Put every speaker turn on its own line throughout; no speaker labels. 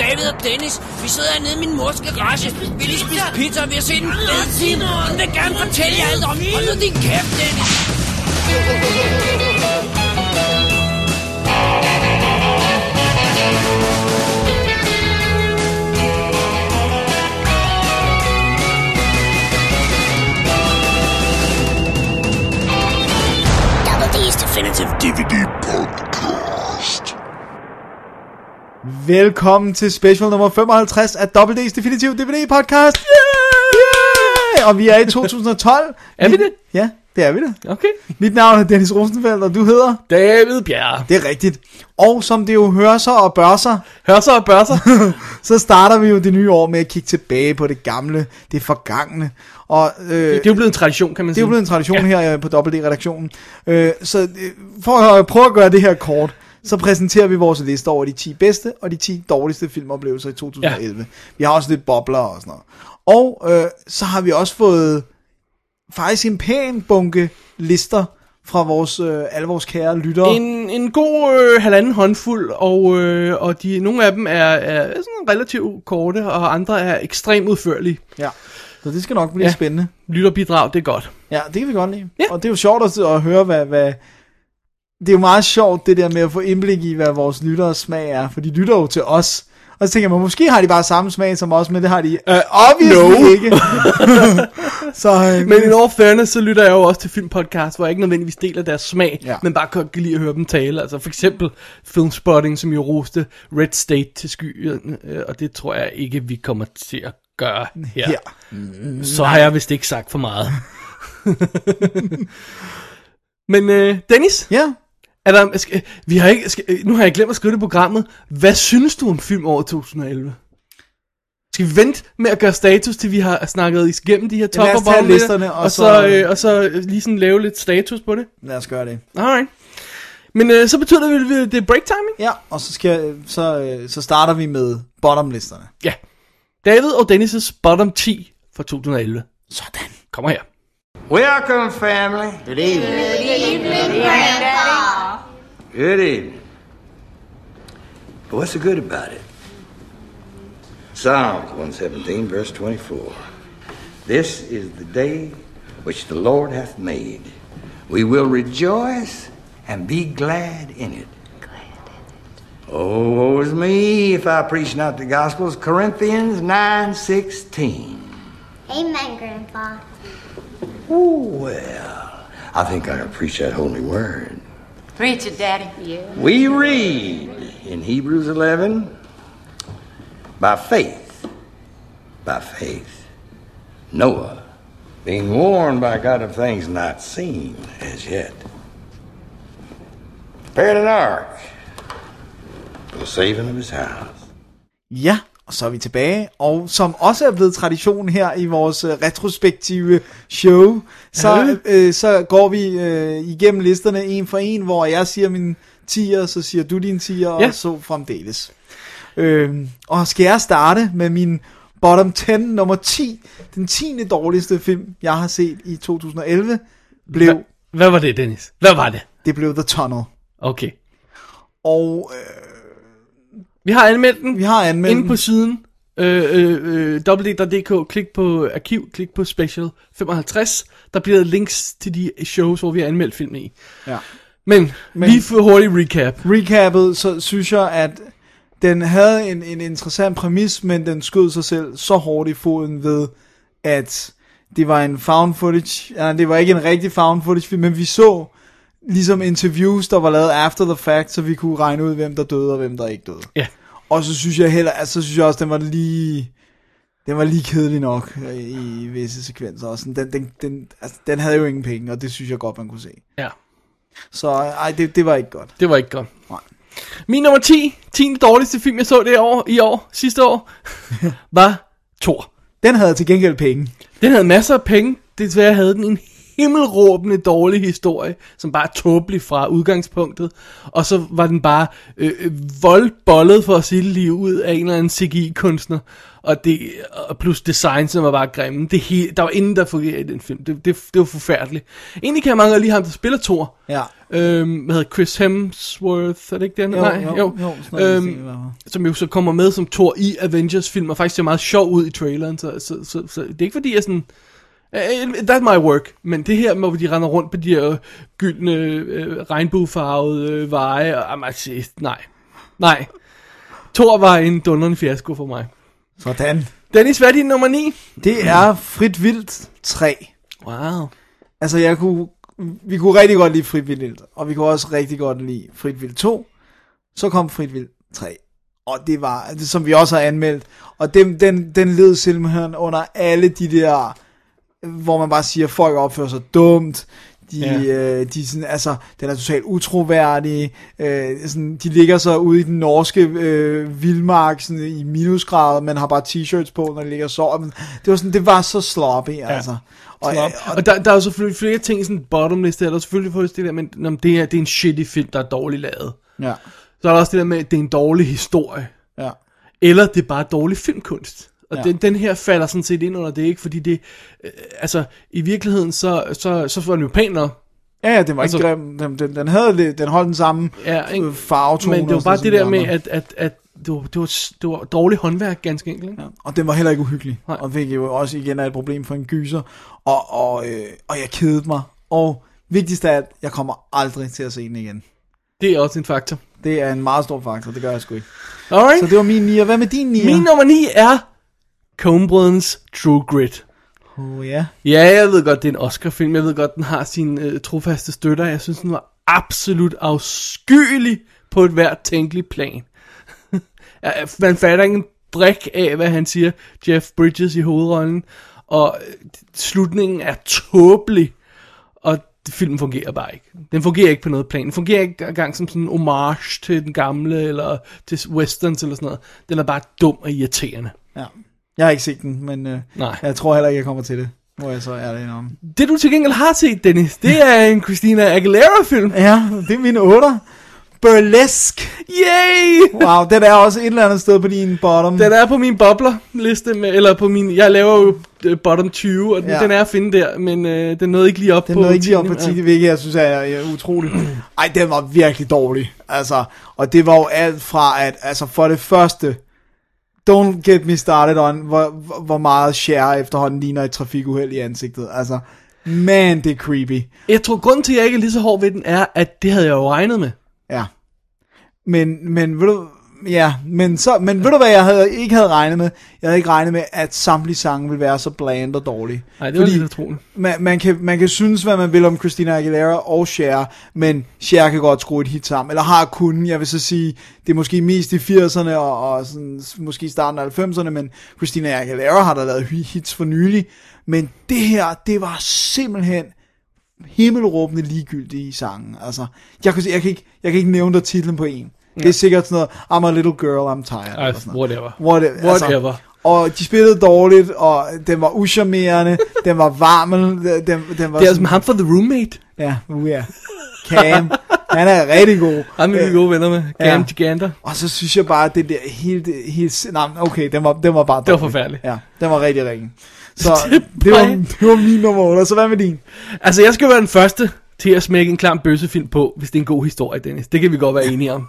tennis. Vi sidder hernede i min mors garage. Vi lige spise pizza, og vi har set en fed film. Hun vil gerne fortælle jer alt om. Hold nu din kæft, Dennis.
Double D's Definitive DVD Podcast.
Velkommen til special nummer 55 af Double D's Definitive DVD Podcast. Yeah! yeah! Og vi er i 2012.
Er vi
Mit-
det?
Ja, det er vi det.
Okay.
Mit navn er Dennis Rosenfeldt, og du hedder...
David Bjerre.
Det er rigtigt. Og som det jo hører sig og bør sig,
Hør så og bør sig.
så starter vi jo det nye år med at kigge tilbage på det gamle, det forgangne. Og, øh,
Det er jo blevet en tradition, kan man
Det er
sige.
jo blevet en tradition ja. her øh, på WD-redaktionen. Øh, så øh, for at prøve at gøre det her kort, så præsenterer vi vores liste over de 10 bedste og de 10 dårligste filmoplevelser i 2011. Ja. Vi har også lidt bobler og sådan noget. Og øh, så har vi også fået faktisk en pæn bunke lister fra vores, øh, alle vores kære lyttere.
En, en god øh, halvanden håndfuld, og, øh, og de, nogle af dem er, er sådan relativt korte, og andre er ekstremt udførlige.
Ja. Så det skal nok blive ja.
Ja.
spændende.
Lytterbidrag, det er godt.
Ja, det kan vi godt lide.
Ja.
Og det er jo sjovt at, at høre, hvad, hvad... Det er jo meget sjovt, det der med at få indblik i, hvad vores lytteres smag er, for de lytter jo til os. Og så tænker man, måske har de bare samme smag som os, men det har de uh, obviously
no.
ikke. så, øh,
Men i all fairness, så lytter jeg jo også til filmpodcast, hvor jeg ikke nødvendigvis deler deres smag,
Ja.
ja. men bare godt kan lide at høre dem tale. Altså for eksempel Filmspotting, som jo roste Red State til skyen, øh, og det tror jeg ikke, vi kommer til at gøre her.
Ja.
Ja. Så har jeg vist ikke sagt for meget. men øh, Dennis,
ja,
er der, skal, vi har ikke, skal, øh, nu har jeg glemt at skrive det i programmet. Hvad synes du om filmåret 2011? Skal vi vente med at gøre status, til vi har snakket igennem de her top
lad os
og
tage
bottom lister,
listerne, og
og
så-
så, øh, og så øh, lige sådan lave lidt status på det?
lad os gøre det.
Alright. Men øh, så betyder det, vel, at det er break timing?
Ja, og så, skal, så, øh, så starter vi med bottomlisterne.
Ja. David og Dennis' bottom 10 fra 2011.
Sådan.
Kommer her.
Welcome, family. Good evening. Good evening. But what's the good about it? Psalms 117, verse 24. This is the day which the Lord hath made. We will rejoice and be glad in it. Oh, woe is me if I preach not the gospels. Corinthians 9, 16.
Amen, Grandpa.
Ooh, well, I think I preach that holy word.
Preach it, Daddy. Yeah.
We read in Hebrews 11 by faith, by faith, Noah being warned by God of things not seen as yet, prepared an ark for the saving of his house.
Ja, og så er vi tilbage, og som også er blevet tradition her i vores øh, retrospektive show, så, øh, så går vi øh, igennem listerne en for en, hvor jeg siger min 10'er, så siger du din 10'er, ja.
Ja.
og så fremdeles. Øh, og skal jeg starte med min bottom 10, nummer 10, den 10. dårligste film, jeg har set i 2011, blev,
Hva, hvad var det, Dennis? Hvad var det?
det blev The Tunnel.
Okay.
Og øh,
Vi har anmeldt den.
vi har anmeldt
Inde på siden, øh, øh, øh, www.dk, klik på arkiv, klik på special 55. Der bliver links til de shows, hvor vi har anmeldt filmen i.
den. ja.
Men, Men lige for hurtig recap.
recappet, så synes jeg, at den havde en, en interessant præmis, men den skød sig selv så hårdt i foden ved, at det var en found footage, nej, det var ikke en rigtig found footage film, men vi så ligesom interviews, der var lavet after the fact, så vi kunne regne ud, hvem der døde og hvem der ikke døde.
Ja.
Og så synes jeg heller, altså, så synes jeg også, den var lige, den var lige kedelig nok øh, i visse sekvenser. Og sådan. Den, den, den, altså, den havde jo ingen penge, og det synes jeg godt, man kunne se.
Ja,
Så ej, det, det var ikke godt.
det var ikke godt.
Nej.
Min nummer 10, 10 dårligste film, jeg så det år, i år, sidste år, var Thor.
Den havde til gengæld penge.
Den havde masser af penge. Desværre havde den en himmelråbende dårlig historie, som bare er tåbelig fra udgangspunktet. Og så var den bare øh, øh, voldbollet for at sige det lige ud af en eller anden CGI-kunstner. Og det, og plus design, som var bare grimme. Det hele, der var ingen, der fungerede i den film. Det, det, det var forfærdeligt. Egentlig kan jeg mange godt lide ham, der spiller Thor.
Ja.
Øhm, hvad hedder Chris Hemsworth, er det ikke den?
Jo,
Nej,
jo, jo, sådan noget, jeg tænker,
øhm,
hvad var.
som jo så kommer med som Thor i Avengers film, og faktisk ser meget sjov ud i traileren, så, så, så, så det er ikke fordi, jeg sådan... Øh, That's my work, men det her med, hvor de render rundt på de her gyldne, øh, regnbuefarvede øh, veje, og, jamen, altså, nej, nej. Thor var en dundrende fiasko for mig.
Sådan.
Dennis, hvad er din nummer 9?
Det er Frit Vildt 3.
Wow.
Altså, jeg kunne, vi kunne rigtig godt lide Frit Vildt 1, og vi kunne også rigtig godt lide Frit Vildt 2. Så kom Frit Vildt 3. Og det var, det, som vi også har anmeldt. Og den, den, den led simpelthen under alle de der, hvor man bare siger, at folk opfører sig dumt. De,
Ja.
ja. øh, de er sådan, altså, den er totalt utroværdig. Øh, sådan, de ligger så ude i den norske øh, vildmark sådan, i minusgrader, men har bare t-shirts på, når de ligger og sover. Men det var sådan, det var så sloppy, ja. altså. Og,
Og, og der, der er jo selvfølgelig flere ting i sådan en bottomliste, her. der er selvfølgelig på det der, men nå, men det, er, det er en shitty film, der er dårligt lavet.
ja,
Så er der også det der med, at det er en dårlig historie.
ja.
Eller det er bare dårlig filmkunst. Og ja.
Ja.
den, den her falder sådan set ind under det, ikke? Fordi det, øh, altså, i virkeligheden, så, så, så var den jo pænere.
Ja, ja, den var
Altså-
ikke grim. Den, den, den, havde lidt, den holdt den samme
Ja, ikke?
øh, farvetone.
Men det
og
var
sådan
bare
som
det der
de
med,
andre.
at, at, at det, var, det, var, s- det var dårlig håndværk, ganske enkelt, ikke?
Ja, og den var heller ikke uhyggelig.
Nej.
Og hvilket jo også igen er et problem for en gyser. Og, og, øh, og jeg kedede mig. Og vigtigst af alt, jeg kommer aldrig til at se den igen.
Det er også en faktor.
Det er en meget stor faktor, det gør jeg sgu ikke.
Alright.
Så det var min nier. Hvad med din nier?
Min nummer 9 er Coenbrødrens True Grit.
Oh, ja.
Ja, jeg ved godt, det er en Oscar-film. Jeg ved godt, den har sine øh, trofaste støtter. Jeg synes, den var absolut afskyelig på et hvert tænkeligt plan. Ja, Man fatter ikke en brik af, hvad han siger. Jeff Bridges i hovedrollen. Og øh, slutningen er tåbelig. Og filmen fungerer bare ikke. Den fungerer ikke på noget plan. Den fungerer ikke engang som sådan en homage til den gamle, eller til westerns, eller sådan noget. Den er bare dum og irriterende.
ja. Jeg har ikke set den, men øh,
Nej.
jeg tror heller ikke, jeg kommer til det. Må jeg så ærlig om.
Det du til gengæld har set, Dennis, det er en Christina Aguilera-film.
Ja, det er mine otter. Burlesque.
Yay!
Wow, den er også et eller andet sted på din bottom.
Den er på min bobler-liste, med, eller på min, jeg laver jo øh, bottom 20, og den, ja.
Ja.
den er at finde der, men øh, den nåede ikke lige op
Den
på
nåede ikke lige op på 10,
tiende.
hvilket jeg synes er, er utroligt. Ej, den var virkelig dårlig. Altså, og det var jo alt fra, at altså for det første, don't get me started on, hvor, hvor- hvor meget Cher efterhånden ligner et trafikuheld i ansigtet. Altså, man, det er creepy.
Ja. Jeg tror, grunden til, at jeg ikke er lige så hård ved den, er, at det havde jeg jo regnet med.
Ja. Men, men ved du, ja, men, så, men ved du, hvad jeg havde, ikke havde regnet med? Jeg havde ikke regnet med, at samtlige sange ville være så bland og dårlige.
Nej, det var Fordi... lidt utroligt.
man, man, kan, man kan synes, hvad man vil om Christina Aguilera og Cher, men Cher kan godt skrue et hit sammen, eller har kun, jeg vil så sige, det er måske mest i 80'erne og, og sådan, s- måske i starten af 90'erne, men Christina Aguilera har da lavet hy- hits for nylig, men det her, det var simpelthen himmelråbende ligegyldige sange. Altså, jeg kan, jeg kan, ikke, jeg kan ikke nævne dig titlen på en. Det er sikkert sådan noget, I'm a little girl, I'm tired.
Ej,
eller sådan noget.
whatever.
Whatever.
Whatever.
altså, og de spillede dårligt, og den var uschammerende, den var varmel, den, den var...
Det er som ham fra The Roommate.
Ja, uh, ja. Cam, han er rigtig god.
Ham er vi gode venner med. Gam ja.
ja.
Giganter.
Og så synes jeg bare, at det der hele... det- hele nej, men okay, den var, den var bare
Det var
dårlig.
forfærdeligt.
Ja, den var rigtig ringen. Så
Det er
det var,
bare-
det var min nummer 8, og så hvad med din?
Altså, jeg skal være den første til at smække en klam bøssefilm på, hvis det er en god historie, Dennis. Det kan vi godt være enige om.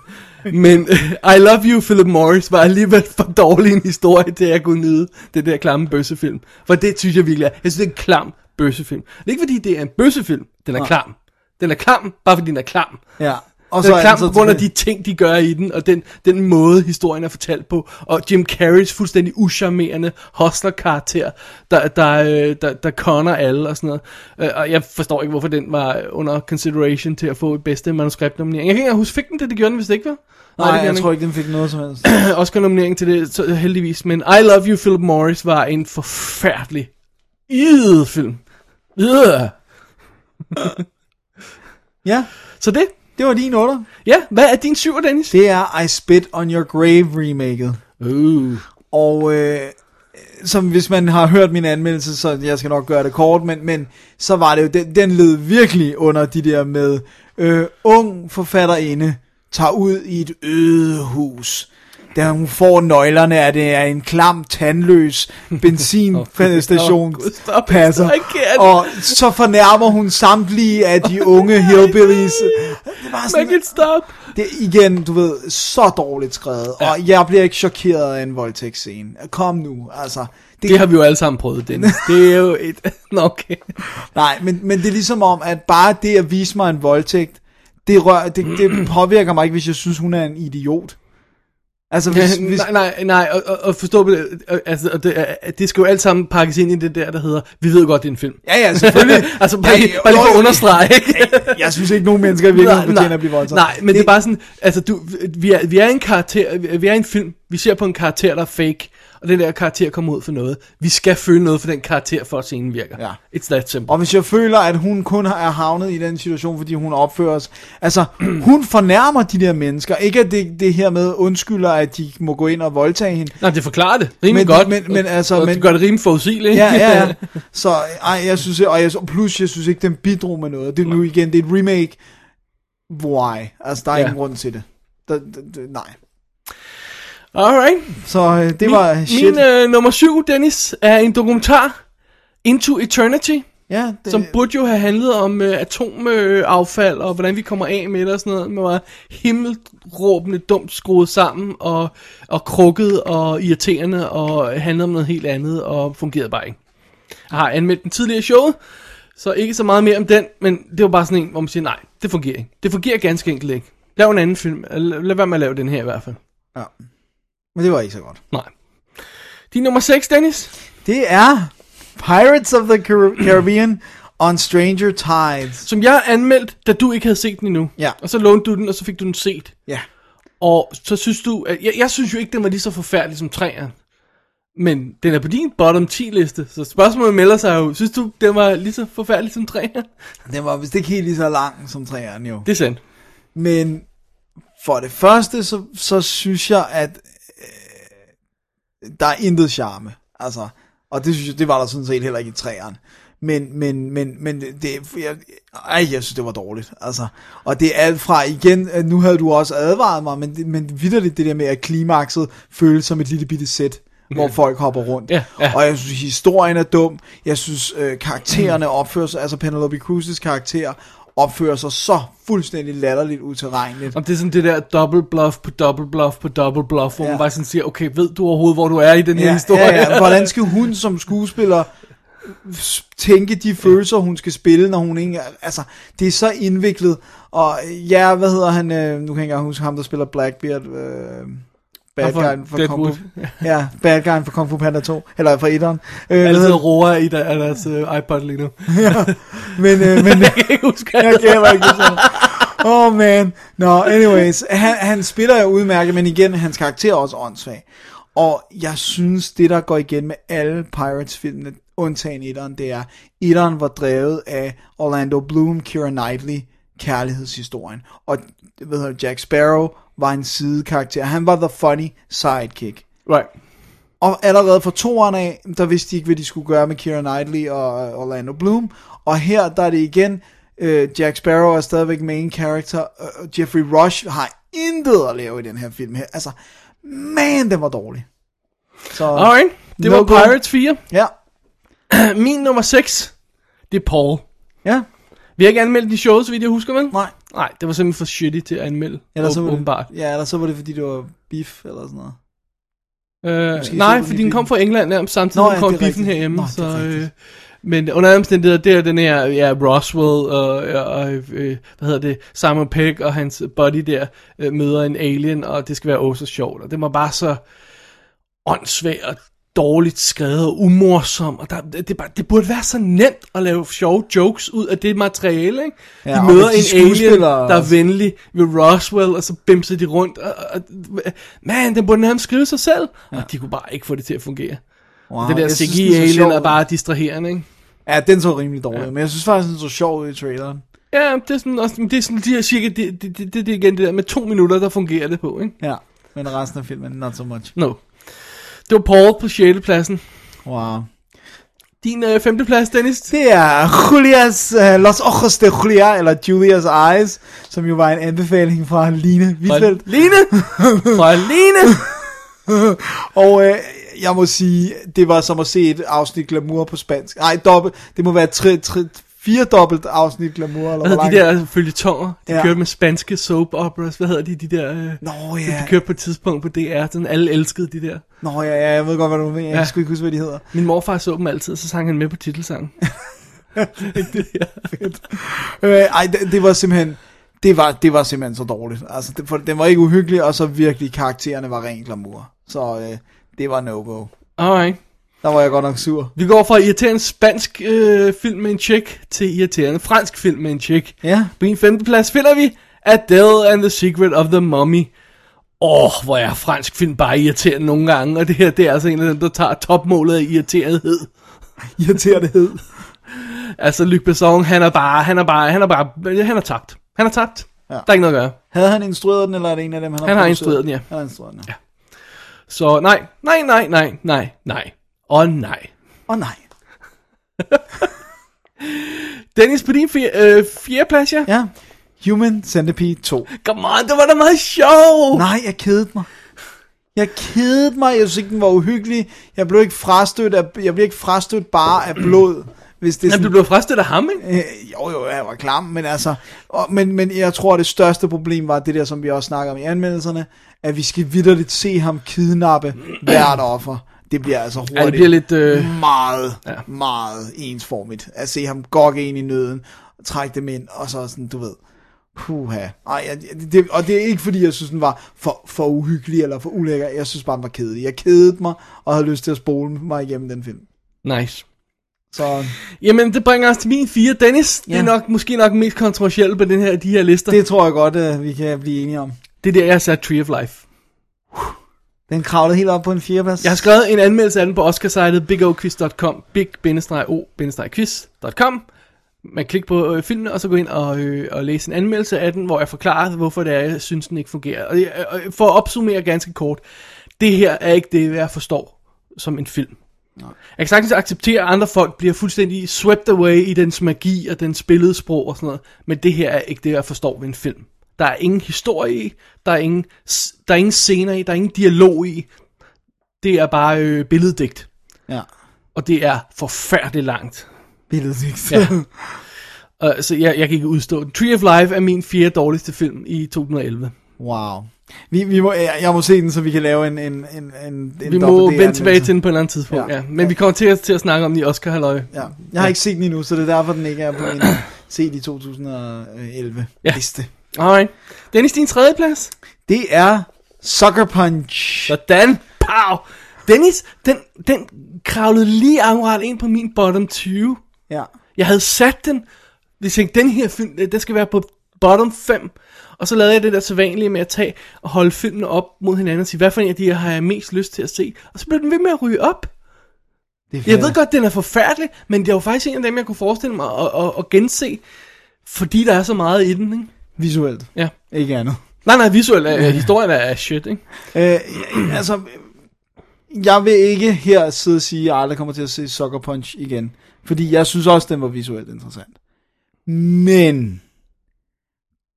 Men øh, I Love You, Philip Morris, var alligevel for dårlig en historie, til at jeg kunne nyde den der klamme bøssefilm. For det synes jeg virkelig er. Jeg synes, det er en klam bøssefilm. Det er ikke fordi, det er en bøssefilm. Den er klam. Den er klam, bare fordi den er klam.
Ja. Og
Den er
han
klam på grund af de
tilbage.
ting, de gør i den, og den, den måde, historien er fortalt på, og Jim Carreys fuldstændig uscharmerende hustler-karakter, der, der, øh, der, der conner alle og sådan noget. Øh, Og jeg forstår ikke, hvorfor den var under consideration til at få et bedste manuskriptnominering. Jeg kan ikke engang huske, fik den det, det gjorde den, hvis det ikke var?
Nej, jeg tror ikke, den fik noget som helst.
Oscar-nominering til det, så heldigvis. Men I Love You, Philip Morris, var en forfærdelig, yd film. Yd.
Ja,
Så det.
det var din 8.
Ja, hvad er din syver, Dennis?
Det er I Spit on Your Grave remaket.
Uh.
Og øh, som hvis man har hørt min anmeldelse, så jeg skal nok gøre det kort, men, men så var det jo, den, den led virkelig under de der med, øh, ung forfatterinde tager ud i et øde hus. Da hun får nøglerne, er det er en klam, tandløs benzinstation
Åh, Gud, stop,
passer.
stop igen.
Og så fornærmer hun samtlige af de unge hillbillies. Det var sådan,
Make it stop.
det er igen, du ved, så dårligt skrevet, ja. og jeg bliver ikke chokeret af en voldtægtsscene. Kom nu, altså. Det,
Det har vi jo alle sammen prøvet, Dennis. Det er jo et... Nå, okay.
Nej, men, men det er ligesom om, at bare det at vise mig en voldtægt, det, rør, det, det påvirker mig ikke, hvis jeg synes, hun er en idiot. Altså, hvis, hvis,
Nej, nej, nej, og, og- og forstå på det, øh, altså, og det, er- det skal jo alt sammen pakkes ind i det der, der hedder, vi ved godt, det er en film.
Ja, ja, selvfølgelig.
altså, bare,
Ja,
lige-
jo,
bare lige for
jo,
at
jo.
understrege, ikke?
jeg synes ikke, nogen mennesker virkelig fortjener at blive voldtaget.
nej, men det, det er bare sådan, altså du, vi er, vi er en karakter, vi er en film, vi ser på en karakter, der er fake, og den der karakter kommer ud for noget. Vi skal føle noget for den karakter, for at scenen virker.
Ja.
It's that simple.
Og hvis jeg føler, at hun kun er havnet i den situation, fordi hun opfører sig... Altså, hun fornærmer de der mennesker. Ikke at det, det her med undskylder, at de må gå ind og voldtage hende.
Nej, det forklarer det rimelig
Men-
godt.
men- men altså,
og,
men-
det gør det rimelig forudsigeligt, ikke?
Ja, ja, ja. Så ej, jeg synes, og jeg, plus jeg synes ikke, den bidrog med noget. Det er nu igen, det er et remake. Why? Altså, der er
Ja.
ja. ingen grund til det. Der, der, der, nej.
Alright.
Så øh, det var shit.
Min øh, nummer syv, Dennis, er en dokumentar, Into Eternity,
ja, det,
som burde jo have handlet om øh, atomaffald og hvordan vi kommer af med det og sådan noget. Men var himmelråbende dumt skruet sammen og, og krukket og irriterende og handlede om noget helt andet og fungerede bare ikke. Jeg har anmeldt den tidligere i showet, så ikke så meget mere om den, men det var bare sådan en, hvor man siger, nej, det fungerer ikke. Det fungerer ganske enkelt ikke. Lav en anden film. Lad lad være med at lave den her i hvert fald.
ja. Men det var ikke så godt.
Nej. Din nummer 6, Dennis?
Det er Pirates of the Car- Caribbean on Stranger Tides.
som jeg anmeldte, da du ikke havde set den endnu.
Ja.
Og så lånte du den, og så fik du den set.
Ja.
Og så synes du, at jeg, jeg synes jo ikke, den var lige så forfærdelig som træerne. Men den er på din bottom 10 liste, så spørgsmålet melder sig jo, synes du, den var lige så forfærdelig som træerne?
Den var vist ikke helt lige så lang som træerne jo.
Det er sandt.
Men for det første, så, så synes jeg, at øh, der er intet charme. Altså, og det, synes jeg, det var der sådan set heller ikke i træerne. Men, men, men, men det, jeg, ej, jeg synes, det var dårligt. Altså, og det er alt fra, igen, at nu havde du også advaret mig, men, det- men vidderligt det der med, at klimakset føles som et lille bitte sæt, hvor folk hopper rundt.
Ja, ja.
Og jeg synes, historien er dum. Jeg synes, øh,
Mm.
karaktererne opfører sig, altså Penelope Cruz's karakter, opfører sig så fuldstændig latterligt utilregneligt.
Og det er sådan det der double bluff på double bluff på double bluff, hvor ja. man
Ja.
bare sådan siger, okay, ved du overhovedet, hvor du er i den her
Ja,
historie?
ja, ja. Hvordan skal hun som skuespiller s- tænke de følelser, hun skal spille, når hun ikke... Altså, det er så indviklet. Og ja, hvad hedder han? Øh, nu kan jeg ikke engang huske ham, der spiller Blackbeard. Øh, bad
Og for
guyen fra Kung
Deadwood.
Fu, ja, bad guyen fra Kung Fu Panda 2, eller fra 1'eren. Øh, hvad
Altid
hedder-
roer i der, deres uh, iPod lige nu.
men, øh, men,
Jeg kan ikke huske, hvad
Jeg
det
kan heller ikke huske det. Oh man. Nå, anyways. Han, han spiller jo udmærket, men igen, hans karakter er også åndssvag. Og jeg synes, det der går igen med alle Pirates-filmene, undtagen etteren, det er, etteren var drevet af Orlando Bloom, Keira Knightley, kærlighedshistorien. Og ved du, Jack Sparrow var en sidekarakter. Han var the funny sidekick.
Right.
Og allerede fra toeren af, der vidste de ikke, hvad de skulle gøre med Keira Knightley og øh, Orlando Bloom. Og her, der er det igen, øh, Jack Sparrow er stadigvæk main character. Øh, Jeffrey Rush har intet at lave i den her film her. Altså, man, den var dårlig. Så,
Alright, det
No
var
go.
Pirates 4.
Ja,
Min nummer 6, det er Paul.
ja,
Vi har ikke anmeldt den i showet, så vidt jeg husker, vel?
nej.
Nej, det var simpelthen for shitty til at anmelde, Eller så
var
åbenbart.
det, ja, eller så var det, fordi det var beef eller sådan noget.
Øh,
Måske
nej,
så den i
fordi den
biffen.
kom fra England nærmest samtidig,
Nå,
Nå, ja,
ja,
kom
det er
biffen
rigtigt.
herhjemme.
Nå, det er
så, øh,
rigtigt.
men under alle omstændigheder, det er den her ja, Roswell og, og øh, øh, hvad hedder det, Simon Pegg og hans buddy der øh, møder en alien, og det skal være også sjovt. Og det var bare så åndssvagt og dårligt skrevet og umorsom. Og der, det, det, er bare, det burde være så nemt at lave sjove jokes ud af det materiale. Ikke? Ja,
Ja,
de
og
møder
med de
en alien,
skuespillere
der er
også.
venlig ved Roswell, og så bimser de rundt. Og, og, og- man, den burde nærmest skrive sig selv. Ja. Og de kunne bare ikke få det til at fungere.
Wow,
Det der
jeg synes, den så
CGI-alien
sjov
er
ud.
bare distraherende, ikke?
Ja, den så rimelig dårlig, ja. men jeg synes faktisk, den så sjov ud i traileren.
Ja, det er sådan, også, men det er sådan de her cirka, det, det, det, det, det er igen det der med to minutter, der fungerer det på, ikke?
Ja, men resten af filmen, not so much.
No. Det var Paul på 6. pladsen.
Wow.
Din øh, 5. plads, Dennis.
Det er Julias, uh, Los Ojos de Julia, eller Julias Eyes, som jo var en anbefaling fra Line Wiesfeldt.
Line. Fra Line.
Og øh, jeg må sige, det var som at se et afsnit glamour på spansk. Nej, dobbelt. Det må være tre, tre, fire dobbelt afsnit glamour, eller
Hvad
hvor
hedder
langt.
de der følgetonger? De
Ja.
ja. kørte med spanske soap operas. Hvad hedder de, de der... Øh,
Nå
som
ja.
De kørte på et tidspunkt på DR. Sådan, alle elskede de der.
Nå ja, ja, jeg ved godt, hvad du mener. Jeg
Ja.
skulle ikke huske, hvad de hedder.
Min morfar så dem altid, så sang han med på titelsangen. det der.
Øh, ej, det, det var simpelthen... Det var, det var simpelthen så dårligt. Altså, det, for, den var ikke uhyggelig, og så virkelig karaktererne var ren glamour. Så øh, det var no-go.
Alright.
Der var jeg godt nok sur.
Vi går fra irriterende spansk øh, film med en chick til irriterende fransk film med en chick.
Ja.
På min femte plads finder vi Adele and the Secret of the Mummy. Åh, oh, hvor er fransk film bare irriterende nogle gange, og det her det er altså en af dem, der tager topmålet af irriterethed.
Irriterende hed.
Altså Luc Besson, han er bare, han er bare, han er bare, han er tabt. Han er tabt. Ja. Der er ikke noget at gøre.
Havde han instrueret den, eller er det en af dem, han har
Han har
produceret?
instrueret den, ja.
Han har instrueret den, ja.
Så nej, nej, nej, nej, nej, nej. Og nej.
Åh oh, nej.
Dennis, på din fjer, øh, fjerde plads, ja?
Ja. Human Centipede 2.
Come on, det var da meget sjovt.
Nej, jeg kedede mig. Jeg kedede mig. Jeg synes ikke, den var uhyggelig. Jeg blev ikke frastødt, af, jeg blev ikke frastødt bare af blod. Hvis det er
Men du
sådan,
blev frastødt af ham, ikke?
øh, jo, jo, jeg var klam, men altså... Og, men, men jeg tror, det største problem var det der, som vi også snakker om i anmeldelserne, at vi skal vidderligt se ham kidnappe hvert offer. Det bliver altså hurtigt.
Ja, det bliver lidt... Øh...
meget, ja.
Ja.
meget ensformigt. At se ham gokke ind i nøden, trække dem ind, og så sådan, du ved, puha. Ej, jeg, det, og det er ikke fordi, jeg synes, den var for, for uhyggelig eller for ulækker. Jeg synes bare, den var kedelig. Jeg kedede mig, og havde lyst til at spole mig igennem den film.
Nice.
Så
Jamen, det bringer os til min fire. Dennis, ja. det
Ja.
er nok, måske nok den mest kontroversielle på den her, de her lister. Det,
det tror jeg godt, øh, vi kan blive enige om.
det er der, jeg har sat Tree of Life.
Den kravlede helt op på en fjerdeplads.
Jeg har skrevet en anmeldelse af den på Oscarsitet bigoquiz.com, big-o-quiz.com. Man klikker på øh, filmen, og så gå ind og, øh, og læse en anmeldelse af den, hvor jeg forklarer, hvorfor det er, jeg synes, den ikke fungerer. Og, jeg, og for at opsummere ganske kort, det her er ikke det, jeg forstår som en film. Jeg kan sagtens acceptere, at andre folk bliver fuldstændig swept away i dens magi og dens billedsprog og sådan noget, men det her er ikke det, jeg forstår ved en film. Der er ingen historie i, der er ingen, s- der er ingen scener i, der er ingen dialog i, det er bare øh, billeddigt,
Ja,
og det er forfærdeligt langt.
billedet ikke.
Ja. Uh, så jeg, jeg kan ikke udstå den. Tree of Life er min fjerde dårligste film i 2011.
Wow. Vi, vi må, jeg, jeg må se den, så vi kan lave en en en en en
Vi må
dobbelt
vende tilbage
D-anmeldelse.
til den på et eller andet tidspunkt,
Ja.
ja. ja. Men vi kommer til at, til at snakke om den i Oscar Halløj.
Ja, jeg har ikke set den endnu, så det er derfor, den ikke er på min set i 2011 ja.
Ja.
liste.
Alright. Dennis, din tredje plads.
Det er Sucker Punch.
Sådan. Pow. Dennis, den, den kravlede lige akkurat ind på min bottom 20.
Ja.
Jeg havde sat den. Jeg tænkte, den her film, øh, den skal være på bottom 5. Og så lavede jeg det der sædvanlige med at tage og holde filmene op mod hinanden og sige, hvad for en af de her har jeg mest lyst til at se. Og så blev den ved med at ryge op.
Det er
Jeg ved godt, den er forfærdelig, men det er jo faktisk en af dem, jeg kunne forestille mig at, at, at gense, fordi der er så meget i den, ikke?
Visuelt,
Ja.
ikke andet.
Nej, nej, visuelt er, historien er- er shit, ikke?
Øh, altså, jeg vil ikke her sidde og sige, at jeg aldrig kommer til at se Sucker Punch igen. Fordi jeg synes også, den var visuelt interessant. Men,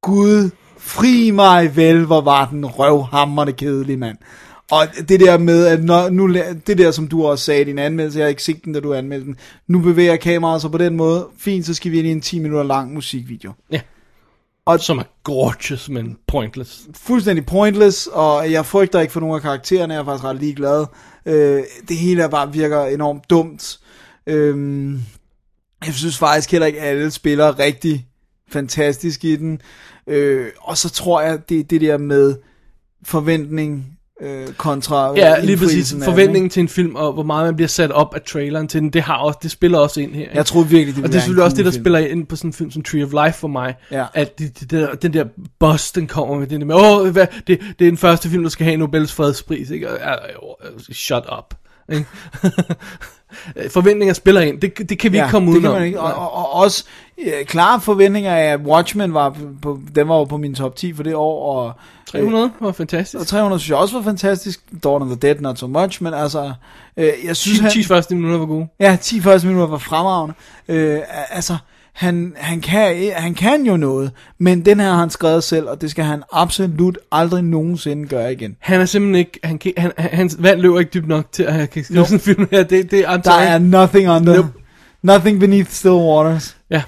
Gud, fri mig vel, hvor var den røvhammerne kedelig, mand. Og det der med, at når, nu, la- det der, som du også sagde i din anmeldelse, jeg har ikke set den, da du anmeldte den, nu bevæger kameraet sig på den måde, fint, så skal vi ind i en 10 minutter lang musikvideo.
Som er gorgeous, men pointless.
fuldstændig pointless, og jeg frygter ikke for nogen af karaktererne, jeg er faktisk ret ligeglad. Øh, det hele er bare virker enormt dumt. Øhm, jeg synes faktisk heller ikke, at alle spiller rigtig fantastisk i den. Øh, og så tror jeg, det er det der med forventning øh, kontra
Ja, lige
indfrielsen
præcis.
af den, ikke?
Forventningen til en film, og hvor meget man bliver sat op af traileren til den, det, har også, det spiller også ind her. ikke?
Jeg tror virkelig, det vil
Og det er
være en
selvfølgelig også det,
cool
der
film.
spiller ind på sådan en film som Tree of Life for mig.
Ja.
At det, det der, den der buzz, den kommer med, den der med, åh, hvad, det, det er den første film, der skal have Nobels fredspris, ikke? Og, øh, øh, shut up. Ikke? øh, forventninger spiller ind. Det, det kan vi ja, ikke komme
det kan
udenom.
man ikke. Og, og, og også øh, klare forventninger af, at Watchmen var på- på, den var jo på min top 10 for det år, og,
300 var
og
fantastisk.
300 Altså, synes jeg også var fantastisk. Dawn of the Dead, not so much, men altså, øh, jeg synes,
10,
han,
10 første minutter var gode.
ja, 10 første minutter var fremragende. Øh, altså, han, han, kan, han kan jo noget, men den her har han skrevet selv, og det skal han absolut aldrig nogensinde gøre igen.
Han er simpelthen ikke, han, kan, han, han, hans vand løber ikke dybt nok til, at han kan skrive
Nope.
sådan en film her. Det, det, I'm
Der
sorry.
er nothing under,
Nope.
nothing beneath still waters.
Ja.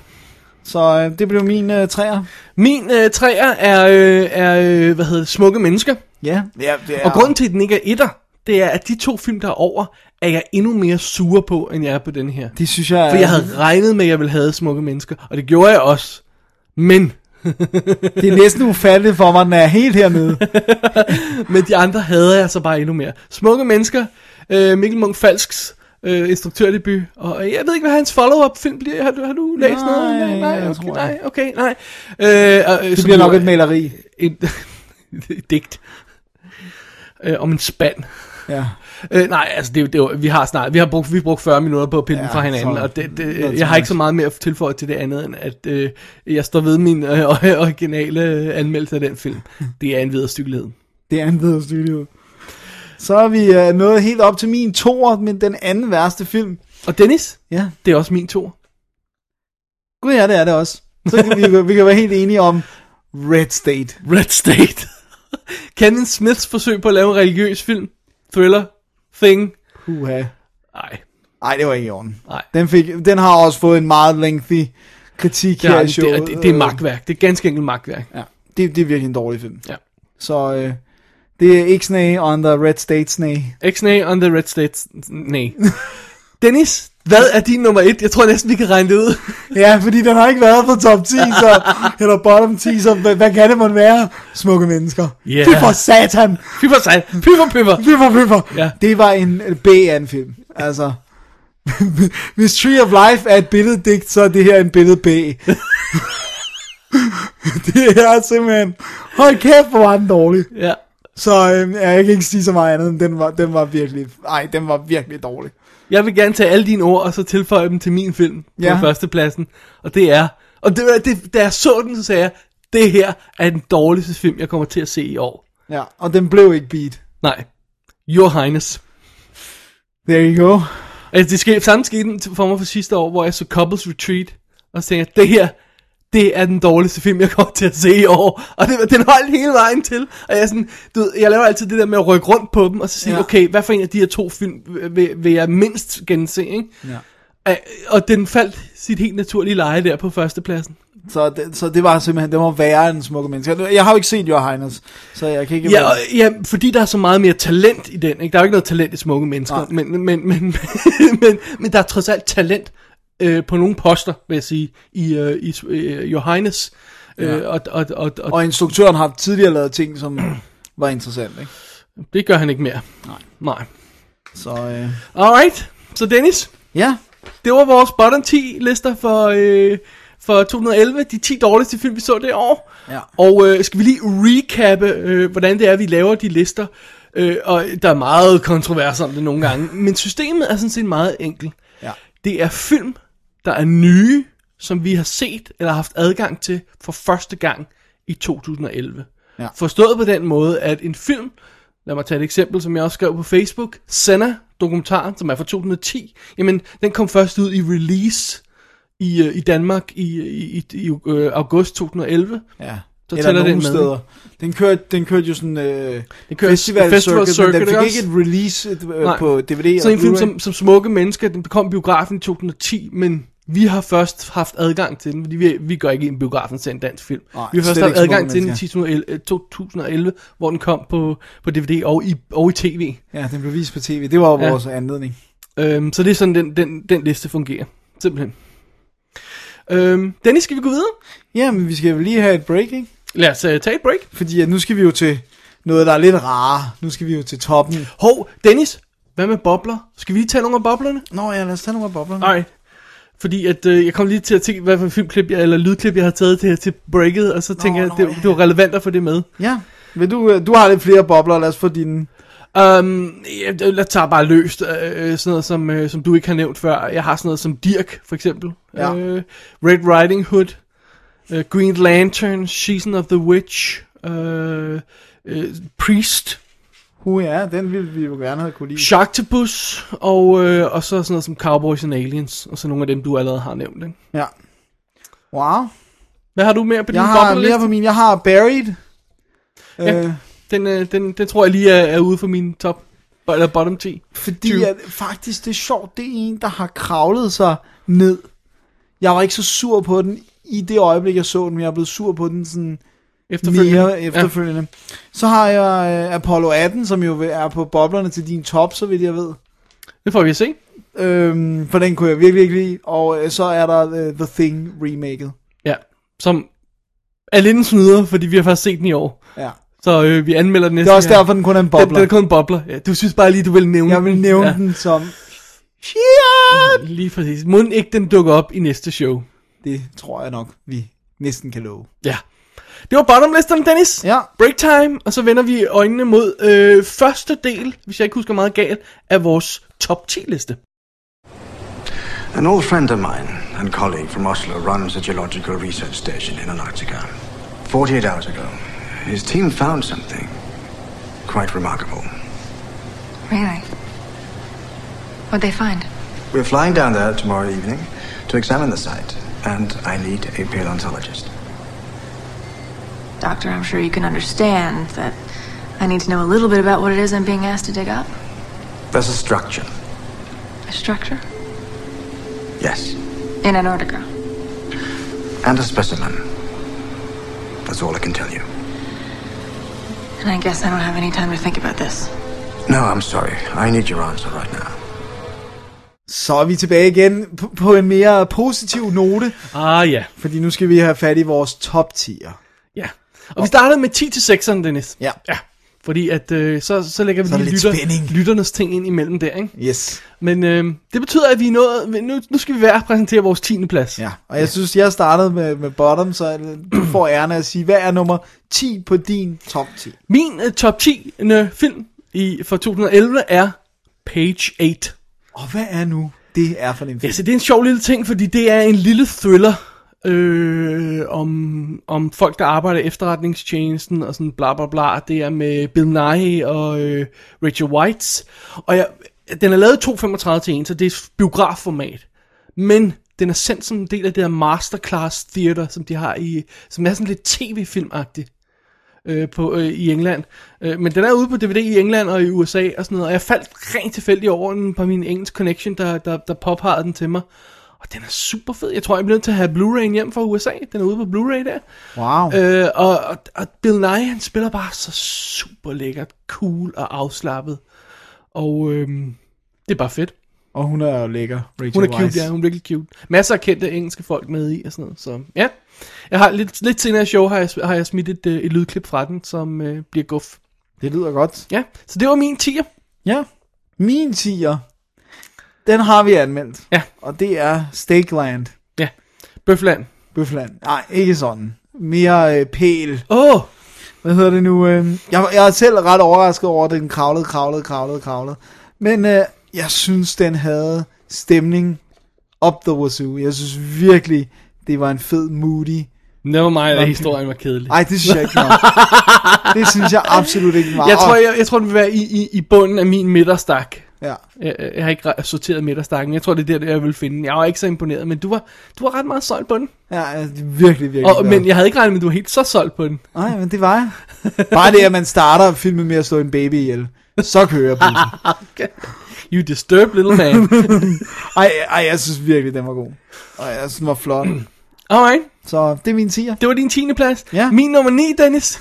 Så øh, det blev min øh, træer.
Min øh, træer er, øh, er øh, hvad hedder det, smukke mennesker.
Ja. ja det
Og grunden til, at den ikke er etter, det er, at de to film, der er over, er jeg endnu mere sur på, end jeg er på den her.
Det synes jeg...
For jeg havde regnet med, at jeg ville have smukke mennesker, og det gjorde jeg også. Men,
Det er næsten ufatteligt for mig, at den er helt hernede.
men de andre havde jeg så bare endnu mere. Smukke mennesker, øh, Mikkel Munk Falsks øh, instruktørdebut, og jeg ved ikke, hvad hans follow-up film bliver. Har du, har du læst
Nej,
noget? Nej, nej,
jeg
okay,
tror
nej, okay, nej. Øh, og, øh,
Det
som
bliver
jo
nok
er
et maleri.
et, et digt øh, om en spand.
Ja.
Øh, nej, altså det, er jo- det, er jo- vi har snart, vi har brugt, vi har brugt 40 minutter på at pille ja,
Ja,
den fra hinanden,
så-
og det,
det er
det, jeg har ikke så meget mere at tilføje til det andet, end at øh, jeg står ved min øh, originale øh, anmeldelse af den film. Det er en videre stykkelighed.
Det er en bedre studio. Så er vi øh, nået helt op til min toer, men den anden værste film.
Og Dennis,
Ja.
det er også min to.
Gud ja, det er det også. Så kan vi, vi kan være helt enige om Red State.
Red State. Kevin Smiths forsøg på at lave en religiøs film, thriller, thing.
Uha.
Nej,
Ej, det var ikke i orden.
nej.
Den, fik, den har også fået en meget lengthy kritik
Det,
her
er,
i showet.
det, det, det er
Øh,
magtværk. Det er ganske enkelt magtværk.
Ja, det, det er virkelig en dårlig film.
Ja.
Så øh, det er ikke snage on the Red State snage.
X-Nay on the Red States. Nej. Dennis, hvad er din nummer et? Jeg tror næsten, vi kan regne det ud.
Ja, fordi den har ikke været på top 10, så, eller bottom 10, så hvad, hvad kan det måtte være? Smukke mennesker.
Ja.
Fy for satan.
Fy for sig. Fy for pipper.
Fy for, fy for.
Ja.
Det var en B af en film. Altså, hvis Tree of Life er et billeddigt, så er det her en billed B. det er simpelthen, hold kæft, hvor var den dårlig.
Ja.
Så øhm, ja, jeg kan ikke sige så meget andet, end den var, den var virkelig, nej, den var virkelig dårlig.
Jeg vil gerne tage alle dine ord, og så tilføje dem til min film på
Ja.
ja. førstepladsen. Og det er... Og det, var- det, da jeg så den, så sagde jeg, det her er den dårligste film, jeg kommer til at se i år.
Ja, og den blev ikke beat.
Nej. Your Highness.
There you go.
Altså, det skete, samme skete for mig for sidste år, hvor jeg så Couples Retreat, og så tænkte jeg, det her, det er den dårligste film, jeg kommer til at se i år. Og det, den holdt hele vejen til. Og jeg, er sådan, du ved, jeg laver altid det der med at rykke rundt på dem, og så sige,
Ja.
ja. okay, hvad for en af de her to film vil, vil jeg mindst gense, ikke?
Ja.
Øh, Og den faldt sit helt naturlige leje der på førstepladsen.
Så det, så det var simpelthen, det var værre end smukke mennesker. Nu- Jeg har jo ikke set Your Highness, så jeg kan ikke...
Ja, og, ja, fordi der er så meget mere talent i den. Ikke? Der er jo ikke noget talent i smukke mennesker,
Nej.
men, men, men, men, men, men der er trods alt talent øh, på nogle poster, vil jeg sige, i, øh, i øh, Your Highness. Øh, og, og, og, og,
og instruktøren har tidligere lavet ting, som var interessant, ikke?
det gør han ikke mere. Nej. Nej.
Så øh,
Alright, så Dennis,
ja,
det var vores bottom 10 lister for, øh, for 2011. De 10 dårligste film, vi så det år.
ja.
Og øh, skal vi lige recappe, øh, hvordan det er, vi laver de lister. Øh, og der er meget kontrovers om det nogle gange. Men systemet er sådan set meget enkelt.
Ja.
Det er film, der er nye, som vi har set eller haft adgang til for første gang i 2011.
Ja.
Forstået på den måde, at en film, lad mig tage et eksempel, som jeg også skrev på Facebook, Senna, dokumentaren, som er fra 2010, jamen den kom først ud i release i, øh, i Danmark i, i, i, i øh, august 2011.
ja.
Så tæller den med,
Den kørte, den kørte jo sådan øh,
Den kører
festival, festival circuit, men den fik
også?
ikke et release øh,
Nej.
på DVD
Så
og
en film
Blu-ray.
som, som Smukke Mennesker, den kom i biografen i 2010, men vi har først haft adgang til den, fordi vi, vi går ikke i en biografen til en dansk film.
Nej,
vi har først
slet
haft
ikke Smukke
adgang til den i
Mennesker.
2011, øh, 2011, hvor den kom på, på DVD og i, og i tv.
Ja, den blev vist på tv. Det var jo
Ja.
vores anledning.
Øhm, så det er sådan, den, den, den liste fungerer. Simpelthen. Øhm, Dennis, skal vi gå videre?
Jamen, vi skal vel lige have et break, ikke?
Lad os uh, tage et break.
Fordi at nu skal vi jo til noget, der er lidt rarere. Nu skal vi jo til toppen.
Hov, Dennis, hvad med bobler? Skal vi lige tage nogle af boblerne?
Nå ja, lad os tage nogle af boblerne.
Mm. Nej. Fordi at, øh, jeg kom lige til at tænke, hvad for et filmklip jeg, eller lydklip jeg har taget til, til breaket, og så tænker jeg,
nå,
at det,
ja.
det var relevant at få det med.
Ja, Vil du, øh, du har lidt flere bobler, lad os få dine.
Um, jeg, jeg tager bare løst øh, sådan noget, som, øh, som du ikke har nævnt før. Jeg har sådan noget som Dirk, for eksempel.
Ja.
Øh, Red Riding Hood. Øh, Green Lantern. Season of the Witch. Øh, øh, Priest.
Hu ja, den ville vi jo gerne have kunne lide.
Sharktopus. Og, øh, og så sådan noget som Cowboys and Aliens. Og så nogle af dem, du allerede har nævnt. Ikke?
Ja. Wow.
Hvad har du mere på din
Jeg har
bobleliste?
mere på min. Jeg har Buried.
Ja.
Øh,
Den, øh, den, den tror jeg lige er, er ude for min top, eller bottom 10.
Fordi
Tyve.
at, faktisk, det er sjovt, det er en, der har kravlet sig ned. Jeg var ikke så sur på den i det øjeblik, jeg så den, men jeg er blevet sur på den sådan
Efterfølgende.
mere efterfølgende. Ja. Så har jeg øh, Apollo 18, som jo er på boblerne til din top, så vidt jeg ved.
Ja, det får vi at se.
Øhm, for den kunne jeg virkelig ikke lide. Og øh, så er der øh, The Thing remaket.
Ja, som er lidt en snyder, fordi vi har først set den i år.
Ja.
Så øh, vi anmelder den
Det
næste
er også
gang.
derfor, den kun er en
Den, den
bobler.
er kun en bobler. Ja, du synes bare lige, du vil nævne
Jeg vil nævne
ja, Mm,
ja. den som...
Lige præcis. Må den ikke den dukker op i næste show?
Det tror jeg nok, vi næsten kan love.
Ja. Det var bottomlisterne, Dennis.
Ja.
Break time, og så vender vi øjnene mod øh, første del, hvis jeg ikke husker meget galt, af vores top 10 liste.
An old friend of mine and colleague from Oslo runs a geological research station in Antarctica. 48 hours ago, his team found something quite remarkable.
Really? What'd they find?
We're flying down there tomorrow evening to examine the site, and I need a paleontologist.
Doctor, I'm sure you can understand that I need to know a little bit about what it is I'm being asked to dig up.
There's a structure.
A structure?
Yes.
In Antarctica.
And a specimen. That's all I can tell you.
And I guess I don't have any time to think about this.
No, I'm sorry. I need your answer right now.
Så er vi tilbage igen på, på en mere positiv note.
Ah ja,
Fordi nu skal vi have fat i vores top 10'er.
ja. Og vi startede med 10 til 6'eren, Dennis.
Ja.
ja. Fordi at, øh, så, så lægger vi
Så er
lige
der lidt spænding.
lytter, lytternes ting ind imellem der, ikke?
Yes.
Men øh, det betyder, at vi er nået... Nu, nu skal vi hver præsentere vores 10. plads.
Ja. Og jeg synes, jeg startede med, med bottom, så du får æren af at sige, hvad er nummer 10 på din top 10?
Min uh, top 10 uh, film i, for 2011 er Page 8.
Og hvad er nu det er for en
Ja,
film?
så det er en sjov lille ting, fordi det er en lille thriller øh, om, om folk, der arbejder i efterretningstjenesten og sådan bla bla bla. Det er med Bill Nye og øh, Rachel Whites. Og jeg, den er lavet i 2.35 til 1, så det er biografformat. Men den er sendt som en del af det her masterclass theater, som de har i, som er sådan lidt tv-filmagtigt øh, på, øh, i England. Øh, men den er ude på DVD i England og i USA og sådan noget. Og jeg faldt rent tilfældigt over den på min engelsk connection, der, der, der påpegede den til mig. Og den er super fed. Jeg tror, jeg bliver nødt til at have Blu-ray hjem fra USA. Den er ude på Blu-ray der.
Wow.
Øh, og, og, og Bill Nye, han spiller bare så super lækkert, cool og afslappet. Og øhm, det er bare fedt.
Og hun er jo lækker, Rachel
Hun er cute,
Weisz.
ja, hun er virkelig cute. Masser af kendte engelske folk med i og sådan noget, så ja. Jeg har lidt, lidt senere i show, har jeg, har jeg smidt et, øh, et lydklip fra den, som øh, bliver guf.
Det lyder godt.
Ja, så det var min tier.
Ja. Min 10'er, den har vi anmeldt.
Ja.
Og det er Steakland.
Ja, Bøfland.
Bøfland. Nej, ikke sådan. Mere øh, pæl.
Åh, oh,
Hvad hedder det nu? Øh, jeg, jeg er selv ret overrasket over, at den kravlede, kravlede, kravlede, kravlede. Men øh, jeg synes, den havde stemning op the wazoo. Jeg synes virkelig, det var en fed moody.
never mind,
Nå,
at historien var kedelig.
Ej, det synes jeg ikke nok. Det synes jeg absolut ikke var.
Jeg tror, jeg, jeg tror, den vil være i, i, i bunden af min midterstak.
Ja.
Jeg, jeg, jeg har ikke re- sorteret midterstakken. Jeg tror, det er der, jeg vil finde den. Jeg var ikke så imponeret, men du var, du var ret meget solgt på den.
Ja, ja, det er virkelig, virkelig.
Og,
godt.
men jeg havde ikke regnet med, at du var helt så solgt på den.
Nej, men det var jeg. Bare det, at man starter filmen med at slå en baby ihjel. Så kører jeg
You disturb little man.
ej, ej, jeg synes virkelig, den var god. Og jeg synes, den var flot.
Alright,
Så det er min 10'er.
det var din 10. plads.
Ja.
Min nummer 9, Dennis.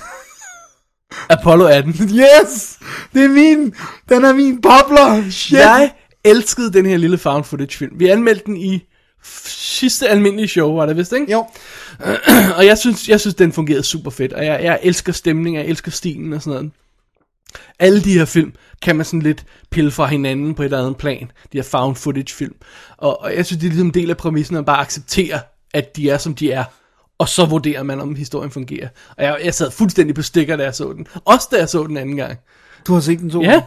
Apollo 18.
Yes! Det er min! Den er min bobler! Shit!
Jeg elskede den her lille found footage film. Vi anmeldte den i f- sidste almindelige show, var det vist, ikke?
Jo,
og jeg synes, jeg synes, den fungerede super fedt, og jeg, jeg elsker stemningen, jeg elsker stilen og sådan noget. Alle de her film kan man sådan lidt pille fra hinanden på et eller andet plan. De her found footage film. Og, og jeg synes, det er ligesom en del af præmissen at bare acceptere, at de er, som de er. Og så vurderer man, om historien fungerer. Og jeg, jeg sad fuldstændig på stikker, da jeg så den. Også da jeg så den anden gang.
Du har set den to?
Ja,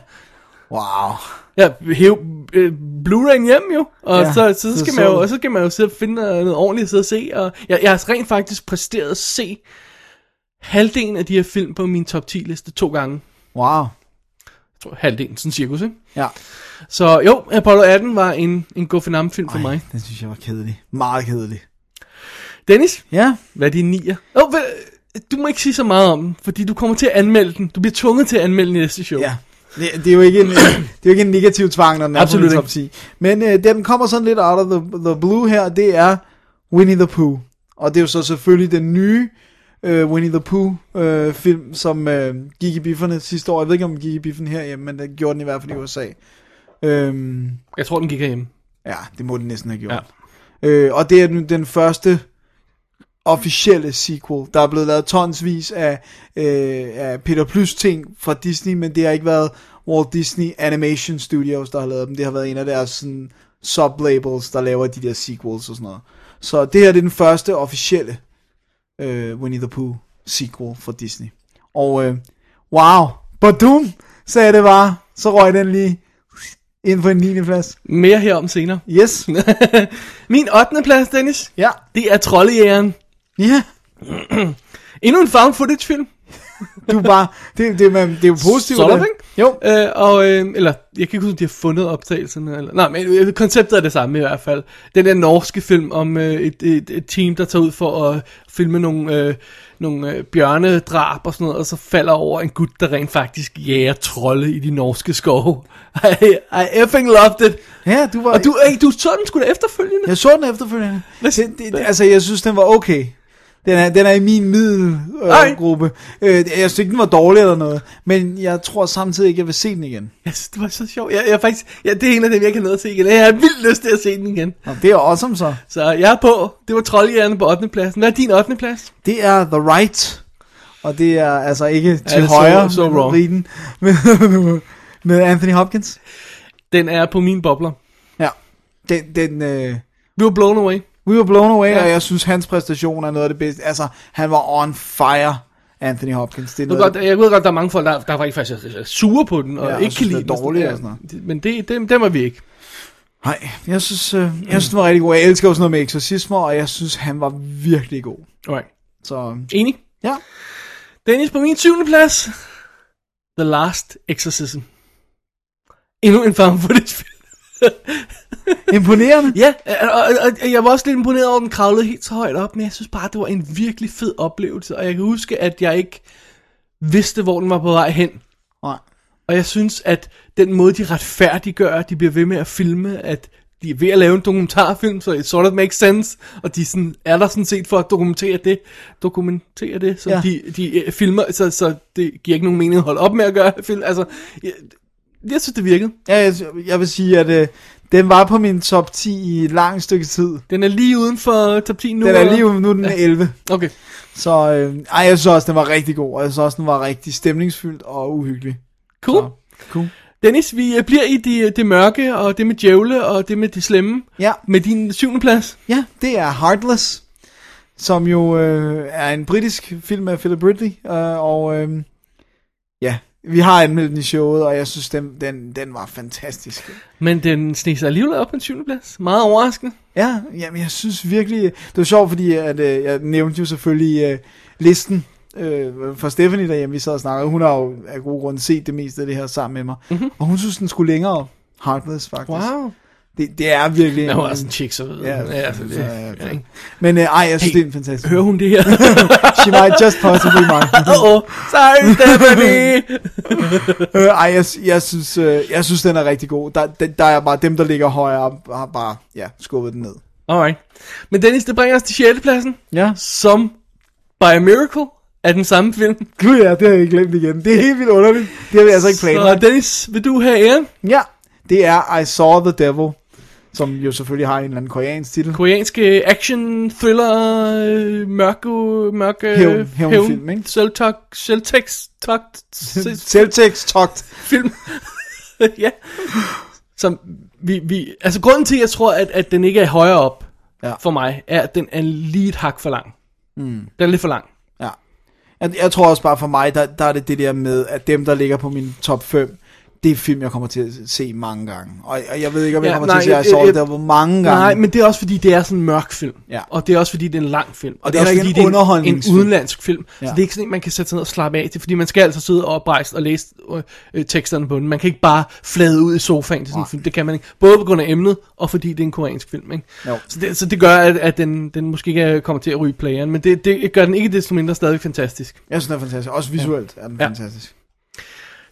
Wow.
ja hæv øh, Blu-ray'en hjem jo, og
Ja,
ja, så, så,
så
skal
så
man jo,
du.
og så skal man jo sidde og finde noget noget ordentligt at sidde og se, og jeg, jeg har rent faktisk præsteret at se halvdelen af de her film på min top 10 liste to gange.
Wow.
Jeg tror halvdelen, sådan cirkus, ikke?
Ja.
Så jo, Apollo 18 var en, en god film for mig.
Ej, den synes jeg var kedelig. Meget kedelig.
Dennis,
Ja.
hvad er din nier? Oh, hvad, du må ikke sige så meget om den, fordi du kommer til at anmelde den. Du bliver tvunget til at anmelde den i næste show.
Ja. Det, det, er jo ikke en, det er jo ikke en negativ tvang, når den er på
Absolut
min
ikke.
top 10. Men øh, den kommer sådan lidt out of the, the blue her, det er Winnie the Pooh. Og det er jo så selvfølgelig den nye øh, Winnie the Pooh øh, film, som øh, gik i bifferne sidste år. Jeg ved ikke, om den gik i biffen herhjemme, men den gjorde den i hvert fald i USA. Øhm,
Jeg tror, den gik herhjemme.
ja, det må den næsten have gjort. Ja. Øh, og det er den, den første officielle sequel. Der er blevet lavet tonsvis af, øh, af Peter Plys ting fra Disney, men det har ikke været Walt Disney Animation Studios, der har lavet dem. Det har været en af deres sådan, sublabels, der laver de der sequels og sådan noget. Så det her det er den første officielle øh, Winnie the Pooh sequel fra Disney. Og øh, wow, badum, sagde det bare. Så røg den lige ind på en 9. plads.
Mere herom senere.
Yes.
Min 8. plads, Dennis,
Ja.
det er Trollejægeren.
Ja.
Endnu en found footage film.
Du er bare, det, det, man, det er jo positivt.
Sådan,
det.
ikke?
Jo.
Øh, og, øh, eller, jeg kan ikke huske, om de har fundet optagelserne. Eller, nej, men øh, konceptet er det samme i hvert fald. Den der norske film om øh, et, et, et team, der tager ud for at filme nogle, øh, nogle øh, bjørnedrab og sådan noget, og så falder over en gut, der rent faktisk jager trolde i de norske skove. I, I effing loved it.
Ja, du var...
Og du, øh, du så den sgu da efterfølgende.
jeg så den efterfølgende.
Hvad-
Det, det, altså, jeg synes, den var okay. Den er, den er i min middelgruppe.
Ej.
Øh, gruppe. øh, jeg synes ikke, den var dårlig eller noget. Men jeg tror samtidig ikke, jeg vil se den igen.
Jeg synes, det var så sjovt. Jeg, jeg faktisk, ja, det er en af dem, jeg kan nå at se igen. Jeg har vildt lyst til at se den igen.
Nå, det er awesome så.
Så jeg er på. Det var Troldjægerne på 8. pladsen. Hvad er din 8. plads?
Det er The Right. Og det er altså ikke til
det så-
højre
så wrong.
Riden, med, med Anthony Hopkins.
Den er på min bobler.
Ja. Den, den, øh,
Vi var blown away.
We were blown away, ja.
Ja.
og jeg synes, hans præstation er noget af det bedste. Altså, han var on fire, Anthony Hopkins. Det er
Jeg
noget
ved,
af
godt, jeg ved godt, der er mange folk, der, der var ikke faktisk er sure på den, og
Ja, og
ja, ikke kan
synes,
lide
det er
den. og sådan
dårligt
noget.
og sådan
Men det, dem, dem er vi ikke.
Nej, jeg synes, øh, jeg synes, den var rigtig god. Jeg elsker jo sådan noget med eksorcismer, og jeg synes, han var virkelig god.
Alright.
Så
Enig?
ja,
Dennis på min syvende plads. The Last Exorcism. Endnu en farm footage film.
imponerende.
Ja, og, og, og jeg var også lidt imponeret over, at den kravlede helt så højt op, men jeg synes bare, det var en virkelig fed oplevelse, og jeg kan huske, at jeg ikke vidste, hvor den var på vej hen.
Nej.
Og jeg synes, at den måde, de retfærdiggør, at de bliver ved med at filme, at de er ved at lave en dokumentarfilm, så it sort of makes sense, og de sådan, er der sådan set for at dokumentere det, dokumentere det, som
Ja.
ja. de, de øh, filmer, så, så det giver ikke nogen mening at holde op med at gøre film. Altså, jeg, jeg synes, det virkede.
Ja, jeg, jeg vil sige, at øh, den var på min top 10 i et langt stykke tid.
Den er lige uden for top 10 nu.
Den er
eller?
lige nu er den 11.
Okay.
Så øh, ej, jeg synes også, den var rigtig god, og jeg synes også, den var rigtig stemningsfyldt og uhyggelig.
Cool.
Så,
Så.
cool.
Dennis, vi øh, bliver i det, det mørke, og det med djævle, og det med de slemme.
Ja.
Med din syvende plads.
Ja, det er Heartless, som jo øh, er en britisk film af Philip Ridley, øh, og øh, ja, vi har anmeldt den i showet, og jeg synes, den, den, den var fantastisk.
Men den sneser sig alligevel op på en syvende plads. Meget overraskende.
Ja, jamen, jeg synes virkelig, det var sjovt, fordi at, øh, jeg nævnte jo selvfølgelig øh, listen øh, for Stephanie derhjemme, vi sad og snakkede, hun har jo af gode grunde set det meste af det her sammen med mig,
Mhm.
mm-hmm. og hun synes, den skulle længere op. Heartless, faktisk. Det, det er virkelig...
Jeg
en-
var også altså, en chick, så ved
Ja,
ja, altså, det,
så, ja,
ja, ikke?
Men øh, ej, jeg synes,
Hey,
det er en fantastisk...
Hører hun det her?
She might just possibly might.
Åh, oh, sorry Stephanie!
Øh, ej, jeg, jeg, synes, øh, jeg synes, den er rigtig god. Der, der, der er bare dem, der ligger højere, op, har bare ja, skubbet den ned.
Alright. Men Dennis, det bringer os til 6. pladsen,
Ja.
som by a miracle er den samme film.
Gud ja, det har jeg glemt igen. Det er helt vildt underligt. Det har vi altså ikke planlagt.
Så Dennis, vil du have æren?
Ja, det er I Saw the Devil, som jo selvfølgelig har en eller anden koreansk titel.
Koreanske action, thriller, øh, mørke, mørke...
Hævn- hævnfilm, ikke?
Selvtok, selvtekst, tok,
Selvtekst, togt.
film. ja. Som vi, vi, altså grunden til, at jeg tror, at, at den ikke er højere op
Ja.
ja. for mig, er, at den er lige et hak for lang. Mm. Den er lidt for lang.
Ja. Jeg, jeg tror også bare for mig, der, der er det det der med, at dem, der ligger på min top 5, det er film, jeg kommer til at se mange gange. Og, og jeg ved ikke, om jeg
Ja,
kommer
nej,
til at se, at
øh,
jeg
øh,
der hvor mange gange.
Nej, men det er også fordi, det er sådan en mørk film.
Ja.
Og det er også fordi, det er en lang film.
Og det er
også
ikke en
fordi, det er en, en
underholdningsfilm.
udenlandsk film. Ja.
Ja.
Så det er ikke sådan en, man kan sætte sig ned og slappe af til, fordi man skal altså sidde oprejst og læse øh, øh, teksterne på den. Man kan ikke bare flade ud i sofaen til sådan en film. Det kan man ikke. Både på grund af emnet, og fordi det er en koreansk film. Ikke?
Jo.
Så, det, så det gør, at, at den, den måske ikke øh, kommer til at ryge playeren, men det, det gør den ikke desto mindre stadig fantastisk.
Jeg synes, den er fantastisk. Også visuelt er den
Ja.
fantastisk.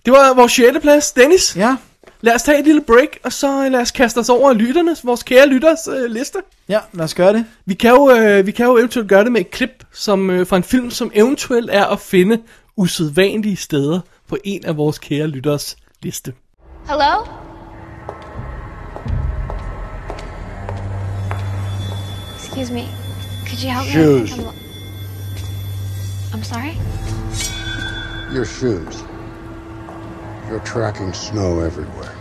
Det var vores 6. plads. Dennis,
Ja,
lad os tage et lille break, og så øh, lad os kaste os over lytternes, vores kære lytters øh, liste.
ja, lad os gøre det.
Vi kan, jo, øh, vi kan jo eventuelt gøre det med et klip som, øh, fra en film, som eventuelt er at finde usædvanlige steder på en af vores kære lytteres liste.
Hello? Excuse me. Could you help
Shoes.
me? I'm- I'm sorry?
Your shoes. You're tracking snow everywhere.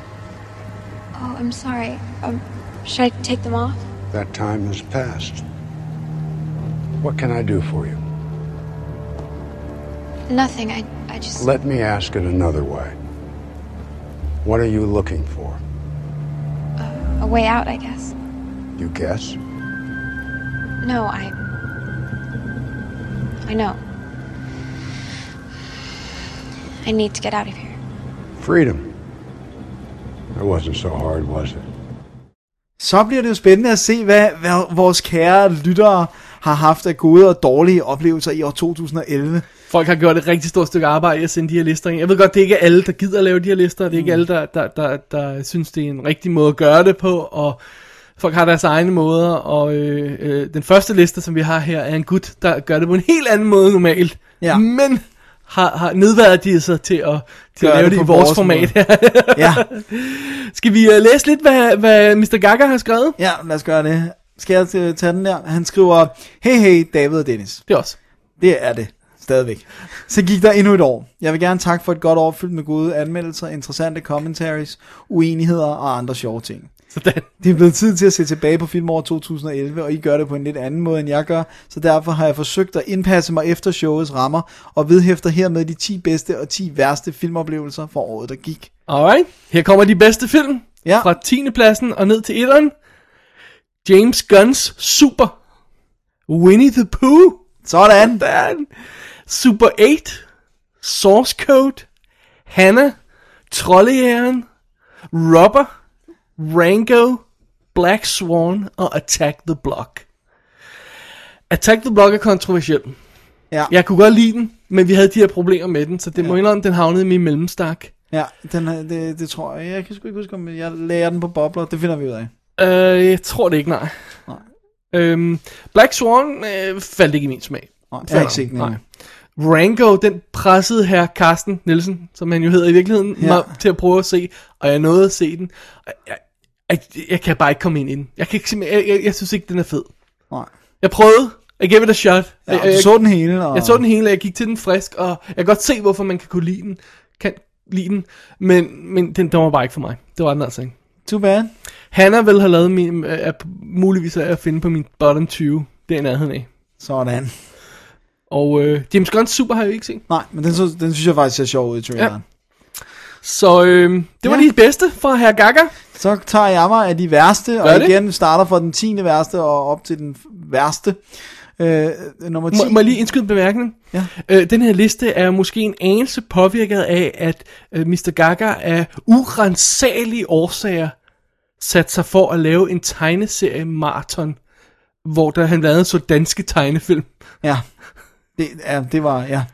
Oh, I'm sorry. Um, should I take them off?
That time has passed. What can I do for you?
Nothing. I, I just.
Let me ask it another way. What are you looking for?
A way out, I guess.
You guess?
No, I. I know. I need to get out of here.
Freedom. That wasn't so hard, was it?
Så bliver det jo spændende at se, hvad, hvad vores kære lyttere har haft af gode og dårlige oplevelser i år 2011.
Folk har gjort et rigtig stort stykke arbejde i at sende de her lister ind. Jeg ved godt, det er ikke alle, der gider at lave de her lister, det er
Mm.
ikke alle, der, der, der, der synes, det er en rigtig måde at gøre det på, og folk har deres egne måder, og øh, øh, den første liste, som vi har her, er en gut, der gør det på en helt anden måde end normalt,
Ja.
men har, har nedværdiget sig til at, til at
Gør
lave
det
det i
på
vores,
vores
format
måde.
her.
Ja,
Skal vi uh, læse lidt, hvad, hvad Mr. Gaga har skrevet?
ja, lad os gøre det. Skal jeg øh, tage den der? Han skriver, hey hey, David og Dennis.
Det er også.
Det er det. Stadigvæk. Så gik der endnu et år. Jeg vil gerne takke for et godt år fyldt med gode anmeldelser, interessante commentaries, uenigheder og andre sjove ting.
Sådan.
Det er blevet tid til at se tilbage på filmåret 2011, og I gør det på en lidt anden måde, end jeg gør, så derfor har jeg forsøgt at indpasse mig efter showets rammer, og vedhæfter hermed de 10 bedste og 10 værste filmoplevelser for året, der gik.
Alright. Her kommer de bedste film.
Ja.
Fra 10. pladsen og ned til 1'eren. James Gunn's Super. Winnie the Pooh.
Sådan!
Sådan. Super 8. Source Code. Hannah. Trollejæren. Robber. Rango. Black Swan og Attack the Block. Attack the Block er kontroversiel.
Ja,
Jeg kunne godt lide den, men vi havde de her problemer med den, så det ja. må indrømme, den havnede i min mellemstak.
ja den, er- det, det tror jeg. Jeg kan sgu ikke huske, om jeg lærer den på bobler. Det finder vi ud af.
Øh, jeg tror det ikke, nej.
Nej.
Øhm, Black Swan øh, faldt ikke i min smag.
Nej, jeg har ikke set den endnu.
Nej. Rango, den pressede her Carsten Nielsen, som han jo hedder i virkeligheden,
Ja.
ja. mig til at prøve at se, og jeg nåede at se den. Og Jeg, jeg, jeg kan bare ikke komme ind i den. Jeg, kan ikke, simpelthen- jeg, jeg, jeg synes ikke, den er fed.
Nej.
Jeg prøvede, I gave it a shot.
Ja, og
jeg,
du så den hele, og...
jeg så den hele, og jeg gik til den frisk, og jeg kan godt se, hvorfor man kan kunne lide den, kan lide den men, men den, den var bare ikke for mig. Det var den altså ikke.
Too bad.
Hanna vil have lavet min, øh, er muligvis at finde på min bottom 20. Det er i nærheden af.
Sådan.
Og øh, James Gunn's Super har jeg jo ikke set.
Nej, men den, så, den synes jeg faktisk ser sjov ud i traileren. Ja.
Så øh, det var
Ja.
ja. de bedste fra Herr Gaga.
Så tager jeg mig af de værste, Gør og
det.
igen starter fra den 10. værste og op til den f- værste. Øh, nummer 10.
Må, må jeg lige indskyde en bemærkning?
Ja.
Øh, den her liste er måske en anelse påvirket af, at øh, Mr. Gaga af urensagelige årsager satte sig for at lave en tegneserie maraton, hvor der han lavede så danske tegnefilm.
Ja. Det, ja, det var, ja.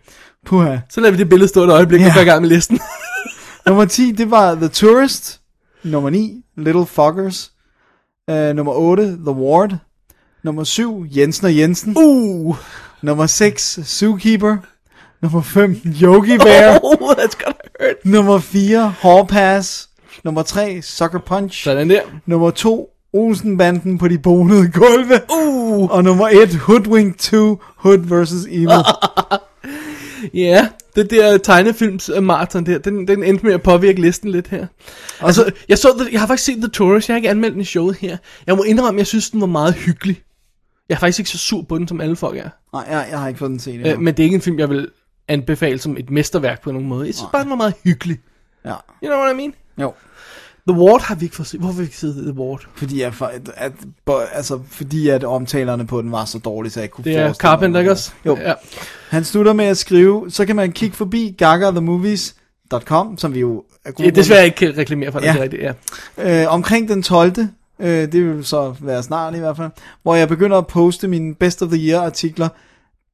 Puha.
Så lader vi det billede stå et øjeblik,
Ja.
og går i gang med listen.
Nummer 10, det var The Tourist. Nummer 9, Little Fuckers. Øh, nummer 8, The Ward. Nummer 7, Jensen og Jensen.
Uh,
Nummer 6, Zookeeper. Nummer 5, Yogi Bear.
oh, that's gonna hurt.
Nummer 4, Hall Pass. Nummer 3, Sucker Punch.
Sådan der.
Nummer 2, Olsenbanden på de bonede gulve.
Uh.
Og nummer 1, Hoodwink 2, Hood vs. Evil.
Ja, det der tegnefilms øh, maraton der, den, den endte med at påvirke listen lidt her.
Og så,
Altså, jeg, så the, jeg har faktisk set The Tourist, jeg har ikke anmeldt den i showet her. Jeg må indrømme, jeg synes, den var meget hyggelig. Jeg er faktisk ikke så sur på den, som alle folk er.
nej, jeg, jeg har ikke fået den set
Ja.
endnu.
Øh, men det er ikke en film, jeg vil anbefale som et mesterværk på nogen måde. Jeg synes bare, den var meget hyggelig.
Ja.
You know what I mean?
Jo.
The Ward har vi ikke fået set. Hvorfor har vi ikke set The Ward?
Fordi, jeg, for- at, at, bo- altså, fordi at omtalerne på den var så dårlige, så jeg kunne
Det er
forestille mig
Carpenter, ikke
noget.
også?
Jo.
Ja.
Han slutter med at skrive, så kan man kigge forbi gagathemovies.com, som vi jo er gode
Jeg desværre
venner.
ikke kan reklamere for det,
Ja.
ja. det er rigtigt, ja.
Øh, omkring den 12. Øh, det vil så være snart i hvert fald, hvor jeg begynder at poste mine best of the year artikler.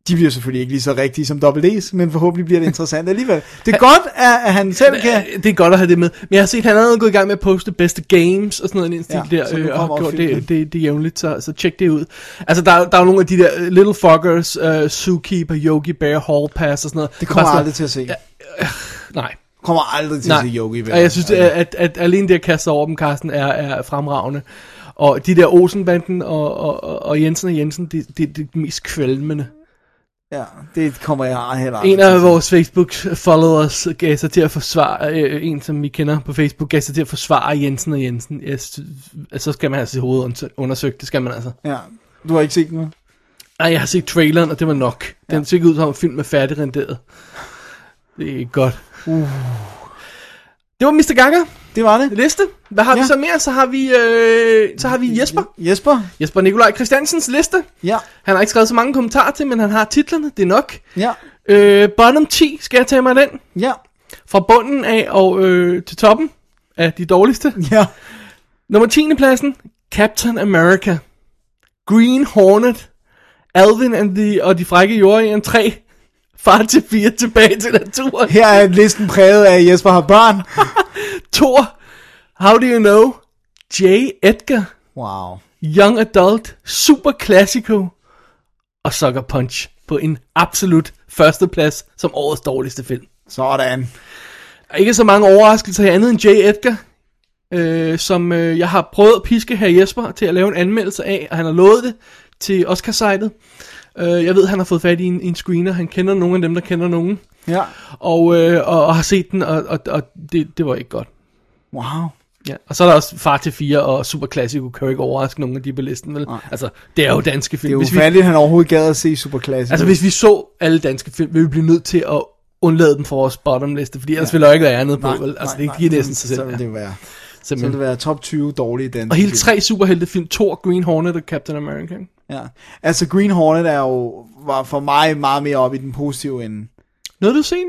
De bliver selvfølgelig ikke lige så rigtige som WD's, men forhåbentlig bliver det interessant alligevel. Det er godt, at, at han selv kan...
Det er godt at have det med. Men jeg har set, at han er gået i gang med at poste bedste games og sådan noget i den stil
Ja,
ja, der,
så nu
øh, og
kommer
har gjort
opfyldelsen.
det, det, det jævnligt, så, så tjek det ud. Altså, der, er- der er jo nogle af de der øh, Little Fuckers, uh, Zookeeper, Yogi Bear, Hall Pass og sådan noget.
Det kommer
Bare
jeg aldrig
sådan
til at se.
noget- Nej.
Kommer aldrig til at se Yogi Bear.
Og jeg synes, at, at, at alene det at kaste sig over dem, Carsten, er, er fremragende. Og de der Olsenbanden og, og, og- og Jensen og Jensen, det er det, det er mest kvalmende.
Ja, det kommer jeg heller aldrig
En
til at
af
se.
vores Facebook-followers gav sig til at forsvare, øh, en som vi kender på Facebook, gav sig til at forsvare Jensen og Jensen. Jeg synes, altså, så skal man altså sit hoved unds- undersøgt, det skal man altså.
Ja, du har ikke set noget?
Ej, jeg har set traileren, og det var nok. Den ser ikke ud som en film med færdigrenderet. Det er ikke godt.
Uh.
Det var Mr. Ganger.
Det var det.
Liste. Hvad har ja. vi så mere? Så har vi, øh, så har vi Jesper.
Jesper.
Jesper Nikolaj Christiansens liste.
Ja.
Han har ikke skrevet så mange kommentarer til, men han har titlerne. Det er nok.
Ja.
Øh, bottom 10, skal jeg tage mig den?
Ja.
Fra bunden af og øh, til toppen af de dårligste.
Ja.
Nummer 10. pladsen, Captain America. Green Hornet. Alvin and the, og de frække jordjæren 3. Far til 4 tilbage til naturen.
Her er listen præget af, at Jesper har børn.
Thor. How do you know? J. Edgar.
Wow.
Young Adult. Super Classico. Og Sucker Punch på en absolut førsteplads som årets dårligste film.
Sådan.
Der er ikke så mange overraskelser her andet end J. Edgar, øh, som øh, jeg har prøvet at piske her Jesper til at lave en anmeldelse af, og han har lovet det til Oscar-sitet. Øh, jeg ved, han har fået fat i en, en screener, han kender nogen af dem, der kender nogen,
Ja.
og, øh, og, og har set den, og, og, og det, det var ikke godt.
Wow.
Ja. Og så er der også Far til 4 og Super Classico, kan jo ikke overraske nogen af de på listen, vel? Altså, det er jo danske
Det
film.
er
Hvis
jo
vi,
fandme, at han overhovedet gad at se Superklasse.
altså, hvis vi så alle danske film, ville vi blive nødt til at undlade dem fra vores bottomliste, fordi ellers ja. ville der jo ikke være andet på, vel? Altså, det giver næsten sig selv.
Så vil
ja.
det være, så vil
Simpelthen.
det være top 20 dårlige danske
Og hele
film.
tre superheltefilm, Thor, Green Hornet og Captain America. ikke?
Ja. Altså, Green Hornet er jo, var for mig meget mere op i den positive ende.
Nåede du at se den?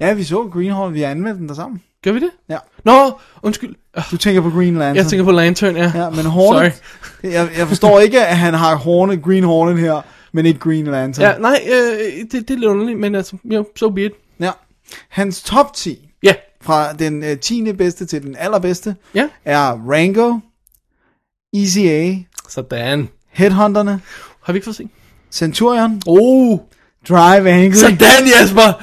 Ja, vi så Green Hornet, vi har anmeldt den der sammen.
Gør vi det?
Ja.
Nå, undskyld. Øh,
Du tænker på Green Lantern.
Jeg tænker på Lantern, ja.
Altså- Ja, men Hornet,
Sorry.
jeg, jeg forstår ikke, at han har Hornet, Green Hornet her, men ikke Green Lantern.
Ja, nej, øh, det, det er lidt underligt, men altså, jo, so be it.
ja. Hans top 10
Ja,
fra den øh, 10. bedste til den allerbedste
ja.
er Rango, Easy A,
Sådan.
Headhunterne,
Har vi ikke fået se?
Centurion,
Oh,
Drive Angry,
sådan Jesper!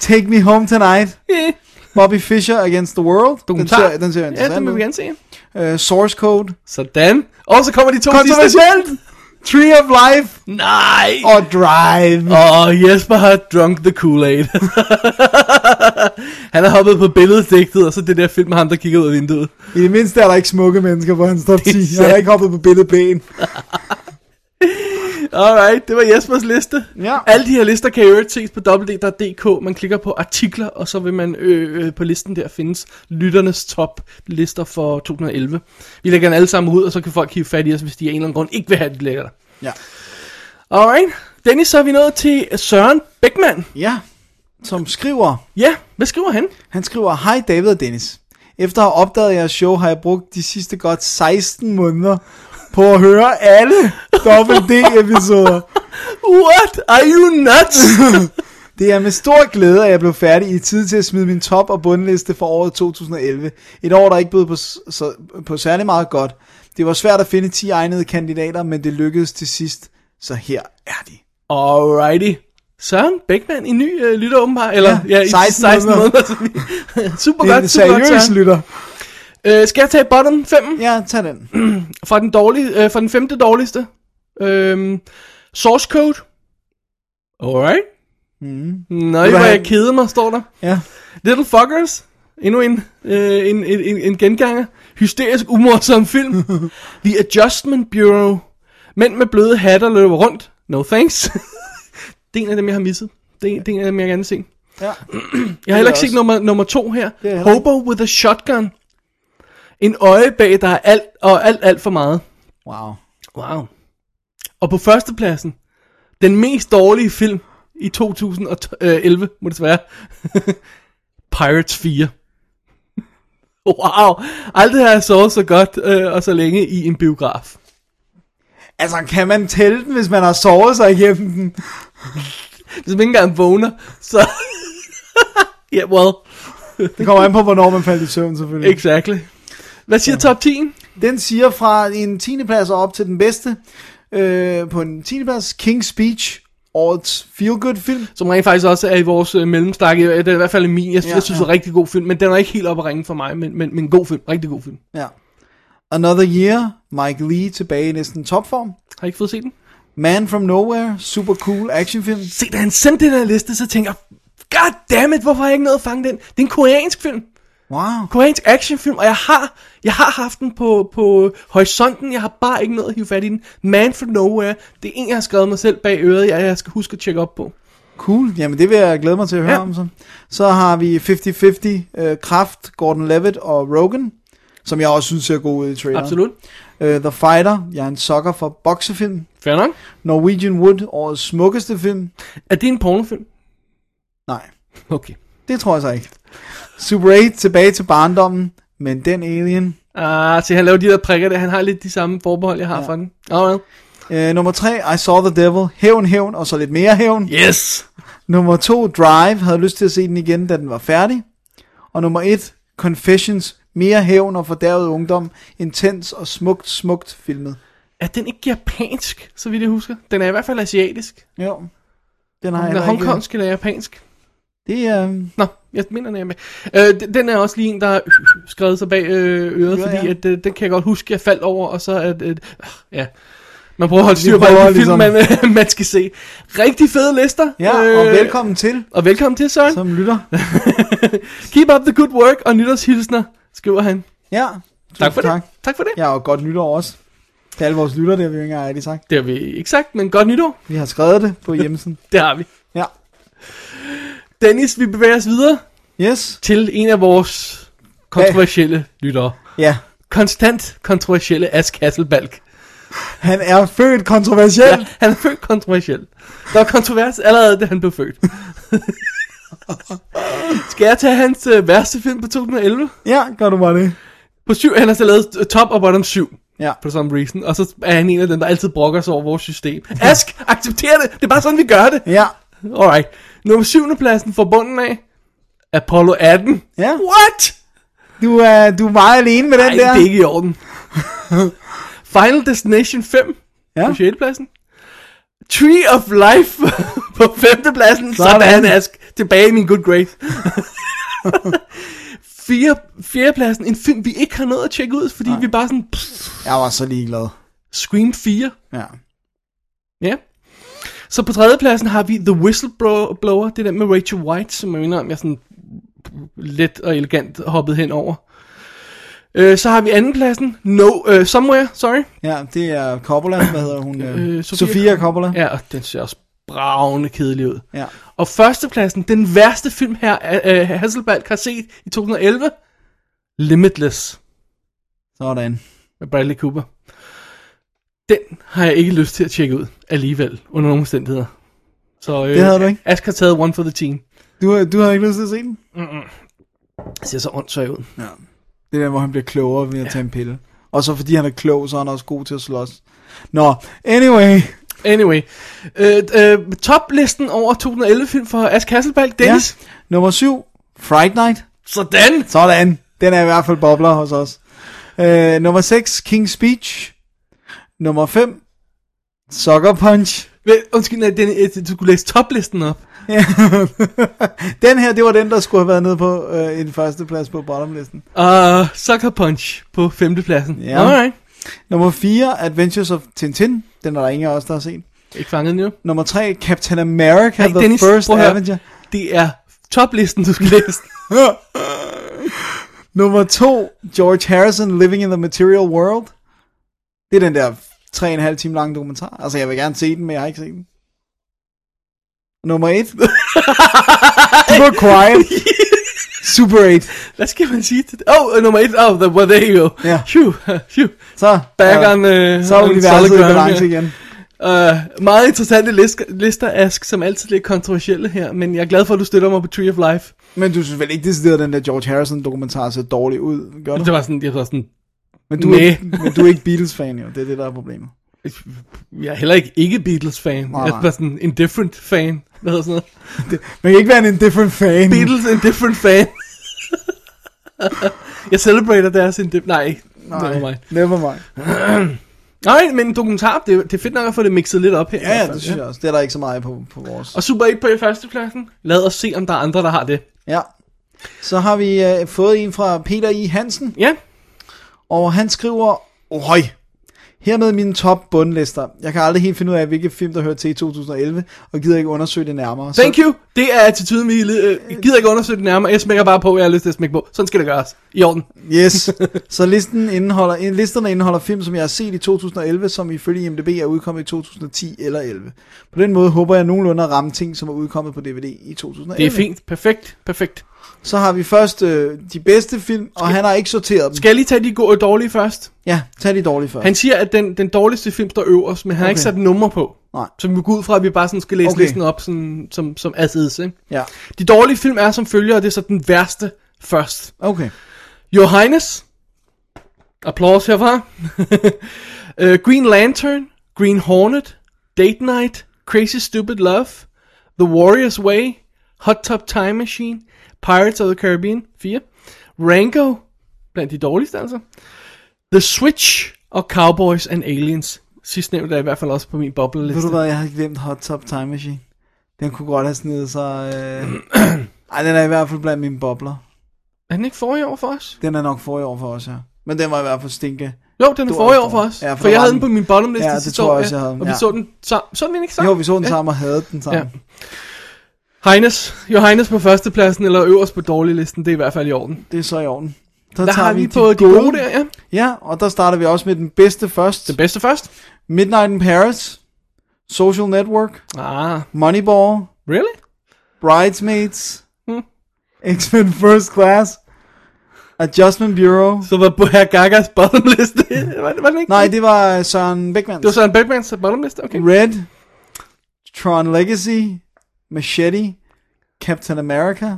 Take Me Home Tonight,
Yeah.
Bobby Fischer Against the World. Den
Dokumentar.
ser, den ser
Ja, den
interessant
vil vi
ud.
gerne se. ja.
Øh, source Code,
Sådan. Og så kommer de to sidste.
Kontroversielt, Tree of Life
Nej!
og Drive.
Og Jesper har drunk the Kool-Aid. han har hoppet på billeddigtet, og så det der film med ham, der kigger ud af vinduet.
I det mindste er der ikke smukke mennesker på hans top 10. Jeg har
sandt.
ikke hoppet på billedben.
Alright, det var Jespers liste.
Ja.
Alle de her lister kan i øvrigt ses på www.dk. Man klikker på artikler, og så vil man øh, øh, på listen der findes lytternes top lister for 2011. Vi lægger den alle sammen ud, og så kan folk hive fat i os, hvis de af en eller anden grund ikke vil have det lægger der.
Ja.
Alright, Dennis, så er vi nået til Søren Beckmann.
Ja, som skriver...
Ja, hvad skriver han?
Han skriver, Hej David og Dennis. Efter at have opdaget jeres show, har jeg brugt de sidste godt 16 måneder på at høre alle WD-episoder.
What? Are you nuts?
Det er med stor glæde, at jeg blev færdig i tid til at smide min top- og bundliste for året 2011. Et år, der ikke bød på, s- så, på særlig meget godt. Det var svært at finde 10 egnede kandidater, men det lykkedes til sidst. Så her er de.
Alrighty. Søren Beckmann, en ny øh, lytter åbenbart, eller
Ja,
ja, i
16
16, 16
måneder.
måneder. så vi- super
Det er
godt,
en
super godt,
seriøs
Søren.
lytter.
Øh, skal jeg tage bottom 5
Ja, tag den.
fra den, dårlige, øh, fra den femte dårligste? Øhm, source code. Alright.
Mm.
Nej,
Vil du
hvor
have-
jeg kede mig, står der.
Ja.
Little Fuckers. Endnu en, øh, en, en, en, en genganger. Hysterisk umorsom film. The Adjustment Bureau. Mænd med bløde hatter løber rundt. No thanks. det er en af dem, jeg har misset. Det, det er en af dem, jeg gerne vil se.
Ja.
Jeg har heller ikke set nummer, nummer to her.
heller
Hobo with a Shotgun. En øje bag, der er alt og alt, alt for meget.
Wow.
Wow. Og på førstepladsen, den mest dårlige film i 2011, øh, må det være. Pirates 4. Wow. Aldrig har jeg sovet så godt øh, og så længe i en biograf.
Altså, kan man tælle den, hvis man har sovet sig igennem den?
Hvis man ikke engang vågner, så... yeah, well,
Det kommer an på, hvornår man faldt i søvn, selvfølgelig.
exactly. Hvad siger top 10?
Den siger fra en 10. plads og op til den bedste. Øh, på en 10. plads, King's Speech, årets feel-good film.
Som rent faktisk også er i vores øh, mellemstak. Øh, Det er i hvert fald min. Jeg, ja, jeg synes, det er en rigtig god film, men den er ikke helt op at ringe for mig, men, men, men god film. Rigtig god film.
Ja. Another Year, Mike Lee tilbage i næsten topform.
Har I ikke fået set den?
Man From Nowhere, super cool actionfilm.
Se, da han sendte den her liste, så tænker jeg, God damn it, hvorfor har jeg ikke nået at fange den? Det er en koreansk film.
Wow.
Koreansk actionfilm, og jeg har, jeg har haft den på, på horisonten, jeg har bare ikke nået at hive fat i den. Man from Nowhere, det er en, jeg har skrevet mig selv bag øret, jeg, jeg skal huske at tjekke op på.
Cool, jamen det vil jeg glæde mig til at høre
Ja.
ja. om så. Så har vi 50-50, øh, Kraft, Gordon Levitt og Rogan, som jeg også synes ser god ud i traileren.
Absolut.
Øh, The Fighter, jeg er en sokker for boksefilm.
Fair nok.
Norwegian Wood, årets smukkeste film.
Er det en pornofilm?
Nej,
Okay.
det tror jeg så ikke. Super 8, tilbage til barndommen, men den alien.
Ah, se, han laver de der prikker der, han har lidt de samme forbehold, jeg har ja. for den. Alright.
Øh, nummer 3, I Saw the Devil, hævn, hævn, og så lidt mere hævn.
Yes!
Nummer 2, Drive, havde lyst til at se den igen, da den var færdig. Og nummer 1, Confessions, mere hævn og fordærvet ungdom, intens og smukt, smukt filmet.
Er den ikke japansk, så vidt jeg husker? Den er i hvert fald asiatisk.
Jo, den har
Den
jeg
er
heller ikke.
hongkongsk eller japansk.
Det er... Øh,
Nå, jeg mener den er med. Øh, d- den er også lige en, der har skrevet sig bag øh, øret,
Ja,
ja, fordi
ja.
At, øh, den kan jeg godt huske, jeg faldt over, og så at... Øh, ja. Man prøver at holde styr på
prøver
alle de film,
ligesom-
man, øh, man skal se. Rigtig fede lister.
ja,
Øh.
og velkommen til,
Og velkommen til, Søren.
som lytter.
Keep up the good work, og nytårshilsner, skriver han.
Ja,
Tak for
tusind
det. Tak for det. Ja.
Ja, og godt nytår også. Til alle vores lytter, det har vi jo ikke engang rigtig sagt.
Det har vi ikke sagt, men godt nytår.
Vi har skrevet det på hjemmesiden.
Det har vi.
Ja.
Dennis, vi bevæger os videre
Yes.
til en af vores kontroversielle lyttere.
Ja.
Konstant kontroversielle Ask Hasselbalg.
Han er født kontroversiel.
Ja, han er født kontroversiel. Der var kontrovers allerede, da han blev født. Skal jeg tage hans øh, værste film på 2011?
Ja, gør du bare det.
På 7, han har så lavet øh, top og bottom 7.
Ja.
For some reason. Og så er han en af dem, der altid brokker sig over vores system. Ask, accepter det. Det er bare sådan, vi gør det.
Ja.
Alright. Nummer 7. pladsen fra bunden af. Apollo 18.
Ja.
What?
Du er, du er meget alene med den
Nej,
der.
det er ikke i orden. Final Destination 5
Ja.
ja. på 6. pladsen. Tree of Life på 5. pladsen.
Sådan.
Sådan, Ask. Tilbage i min good grade. 4. 4. pladsen. En film, vi ikke har nået at tjekke ud, fordi Nej. vi bare sådan... Pff,
Jeg var så ligeglad.
Scream 4.
Ja.
Ja. Så på 3. pladsen har vi The Whistleblower. Det er den med Rachel White, som jeg minder om, jeg sådan let og elegant hoppede hen over. Øh, så har vi anden pladsen. No, øh, Somewhere, sorry.
Ja, det er Coppola, hvad hedder hun? Øh,
Øh,
Sofia,
Sofia
Sofia Coppola. Ja.
Ja, og den ser også bravende kedelig ud.
ja.
Og førstepladsen, den værste film her, øh, Hasselbalg har set i 2011, Limitless
Sådan.
med Bradley Cooper. Den har jeg ikke lyst til at tjekke ud alligevel, under nogle omstændigheder. Så øh,
Det havde du ikke?
Ask har taget one for the team.
Du, har- du har ikke lyst til at se den?
Det ser så åndssvagt ud.
Det er der, hvor han bliver klogere ved at tage en pille. Og så fordi han er klog, så er han også god til at slås. Nå, anyway.
Anyway, øh, øh, toplisten over 2011 film for Ask Hasselbalg, Dennis. Ja.
Nummer 7. Fright Night.
Sådan!
Sådan. Den er i hvert fald bobler hos os. Øh, nummer 6. King's Speech. Nummer 5. Sucker Punch.
Vel, Undskyld, nej, Dennis, øh, du skulle læse toplisten op.
Ja. den her, det var den, der skulle have været nede på øh, en førsteplads på bottomlisten.
Og uh, Sucker Punch på femtepladsen.
Ja.
Alright.
Nummer 4, Adventures of Tintin. Den er der ingen af os, der har set.
Ikke fanget endnu.
Nummer 3, Captain America,
Hey,
The
Dennis,
First
prøv at høre.
Avenger.
Det er toplisten, du skal læse.
Nummer 2, George Harrison, Living in the Material World. Det er den der 3,5 time lange dokumentar. Altså, jeg vil gerne se den, men jeg har ikke set den. Nummer et. Super quiet. Super 8.
Hvad skal man sige til det? Åh, oh, nummer 1. Åh, oh, the- well, there you go.
Ja.
Phew, phew.
Så,
Back
ja.
on, uh,
Så er
on
universet
solid
i
ground,
balance
ja.
igen.
Uh, meget interessante lister, lister, Ask, som altid lidt kontroversielle her, men jeg er glad for, at du støtter mig på Tree of Life.
Men du synes vel ikke, det den der George Harrison dokumentar så dårligt ud, gør du?
Det var sådan, det var sådan,
Men du, er,
Næh.
ikke- men du er ikke Beatles-fan, jo. Det er det, der er problemet.
jeg er heller ikke ikke Beatles-fan.
Nej,
Jeg
nej.
var sådan indifferent fan. Hvad hedder sådan noget?
Man kan ikke være en indifferent fan.
Beatles indifferent fan. jeg celebrater deres indifferent... Nej, nej.
Nej,
Det var mig.
never mind.
Nej, men dokumentar, det, det er fedt nok at få det mixet lidt op her. i
Ja,
hvert
ja,
fald,
det synes jeg også. Det er der ikke så meget på, på vores.
Og Super 8 på førstepladsen. Lad os se, om der er andre, der har det.
Ja. Så har vi øh, fået en fra Peter I. Hansen,
Ja,
og han skriver, Ohøj, hermed mine top bundlister. Jeg kan aldrig helt finde ud af, hvilke film, der hører til i 2011, og gider ikke undersøge det nærmere.
thank you. Det er attituden, vi øh, jeg gider ikke undersøge det nærmere. Jeg smækker bare på, jeg har lyst til at smække på. Sådan skal det gøres. I orden.
Yes, så listen indeholder, in- listerne indeholder film, som jeg har set i 2011, som ifølge IMDb er udkommet i 2010 eller 11. På den måde håber jeg nogenlunde at ramme ting, som er udkommet på DVD i 2011.
Det er fint. Perfekt. Perfekt.
Så har vi først øh, de bedste film, og han har ikke sorteret dem.
Skal jeg lige tage de gode og dårlige først?
Ja, tag de dårlige først.
Han siger, at den, den dårligste film står øverst, men han har ikke
Okay.
sat nummer på.
Nej.
Så vi må gå ud fra, at vi bare sådan skal læse
Okay.
okay. listen op sådan, som, som as is, ikke?
Ja,
De dårlige film er som følger, og det er så den værste først.
okay.
Your Highness. Applaus herfra. Øh, Green Lantern. Green Hornet. Date Night. Crazy Stupid Love. The Warrior's Way. Hot Top Time Machine. Pirates of the Caribbean 4. Rango. Blandt de dårligste altså. The Switch. Og Cowboys and Aliens. Sidstnævnte er i hvert fald også på min bobleliste.
Ved du hvad, jeg har glemt Hot Top Time Machine. Den kunne godt have snedet sig... Øh... Ej, den er i hvert fald blandt mine bobler.
Er den ikke forrige år for os?
Den er nok forrige år for os, ja. Men den var i hvert fald stinke.
Jo, den er
Du
forrige
også
år for os.
Ja,
Ja,
for
for,
der
jeg
var
havde
den-
den på min bottomliste
Ja, det
sidste
tror jeg
år,
også, jeg havde den,
Og vi
ja.
så den sammen. Så den ikke sammen?
Jo, vi så den
Ja.
sammen og havde den sammen.
Ja. Heines. Jo, Heines på førstepladsen, eller øverst på dårliglisten, det er i hvert fald i orden.
Det er så i orden. Så
Der har vi på de gode der, ja.
Ja, og der starter vi også med den bedste først.
Den bedste først.
Midnight in Paris, Social Network,
Ah,
Moneyball,
really?
Bridesmaids,
Hmm.
X-Men First Class, Adjustment Bureau.
Så var Boher Gagas bottomliste. var, det, var den ikke?
Nej, det var øh, Søren Beckmans.
det var Søren Beckmans bottomliste, okay.
Red, Tron Legacy, Machete, Captain America,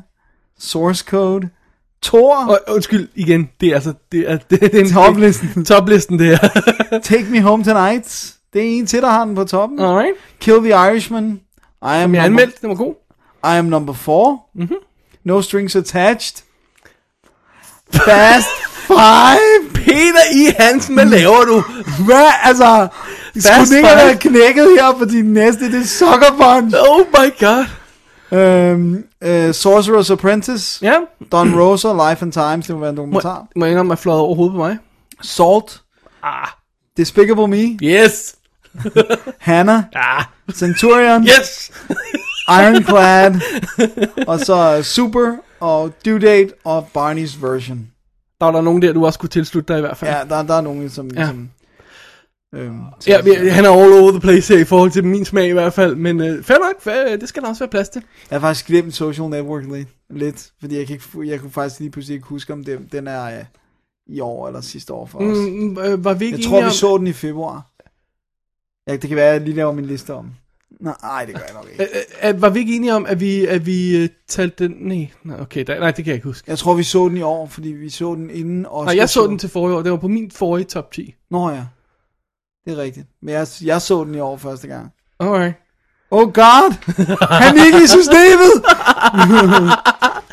Source Code, Thor,
Og undskyld igen, det er altså, det er, det, det er en
Toplisten.
toplisten det her.
Take Me Home Tonight. Det er en til, der har den på toppen.
Alright,
Kill the Irishman. I am,
som Mm-hmm.
number,
jeg anmeldte, den var god.
I am number four. No Strings Attached. Fast Five.
Peter I. Hansen, hvad laver du?
Hvad, altså... Skulle det ikke
Five.
have været knækket her på din næste? Det er Sucker Punch.
Oh my god.
Øhm, øh, Sorcerer's Apprentice.
Ja,
Don Rosa, Life and Times. Det må være en
må,
dokumentar.
må jeg indrømme, at fløjet over hovedet på mig.
Salt.
Ah,
Despicable Me.
yes.
Hannah.
Ah,
Centurion.
yes.
Ironclad, og så Super, og Due Date, og Barney's Version.
Der var der nogen der, du også kunne tilslutte dig i hvert fald.
Ja, der, der er nogen, som...
Ja.
som øhm,
Ja, vi- han er all over the place her i forhold til min smag i hvert fald, men øh, fair nok, fair, øh, det skal der også være plads til.
Jeg har faktisk glemt Social Network lidt, lidt fordi jeg, kan ikke, fu- jeg kunne faktisk lige pludselig ikke huske, om det, den er øh, i år eller sidste år for os.
Mm, øh, var vi ikke
Jeg tror,
enige
vi
om...
så den i februar. Ja, det kan være, jeg lige laver min liste om. Nej, det gør jeg nok ikke.
Øh, øh, øh, var vi ikke enige om, at vi, at vi uh, talte den... Nej, nej, okay, der, nej, det kan jeg ikke huske.
Jeg tror, vi så den i år, fordi vi så den inden Oscar.
Nej, jeg så den til forrige år, det var på min forrige top 10.
Nå ja, det er rigtigt. Men jeg, jeg så den i år første gang.
Alright.
Oh god, han er ikke i systemet.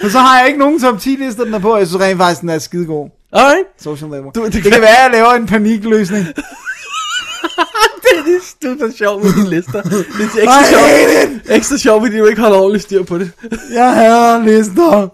Men så har jeg ikke nogen top 10 lister, den er på. Jeg synes rent faktisk, den er skidegod.
Alright.
Social network.
Du, det,
Det kan være, jeg laver en panikløsning.
det, det er så sjovt med dine lister. Det er
I
ekstra sjovt,
hate it.
ekstra sjovt, fordi du ikke holder ordentligt styr på det.
Jeg hader lister.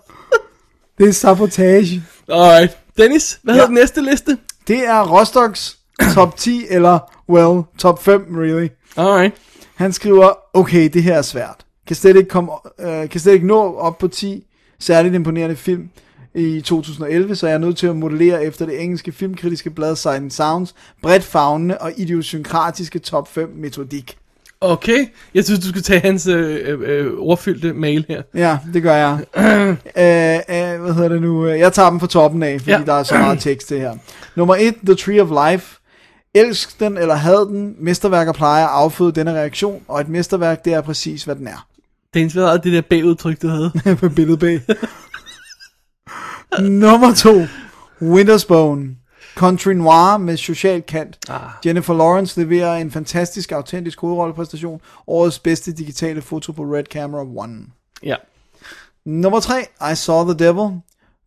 Det er sabotage.
Alright. Dennis, hvad
Ja.
hedder den næste liste?
Det er Rostocks top 10, eller well, top 5 really.
Alright.
Han skriver, okay, det her er svært. Kan slet ikke, komme, øh, kan slet ikke nå op på 10 særligt imponerende film i 2011, så jeg er nødt til at modellere efter det engelske filmkritiske blad Sight and Sounds, bredt fagnende og idiosynkratiske top 5 metodik.
Okay, jeg synes, du skal tage hans øh, øh, ordfyldte mail her.
Ja, det gør jeg. øh, øh, hvad hedder det nu? Jeg tager dem fra toppen af, fordi ja.
Ja.
der er så meget tekst det her. Nummer 1, The Tree of Life. Elsk den eller had den. Mesterværker plejer at afføde denne reaktion, og et mesterværk, det er præcis, hvad den er.
Det er inspireret af det der bagudtryk, du havde.
på billedet bag. Nummer 2, Winter's Bone. Country noir med social kant. Ah. Jennifer Lawrence leverer en fantastisk, autentisk hovedrollepræstation. Årets bedste digitale foto på Red Camera One.
Ja.
Nummer 3, I Saw the Devil.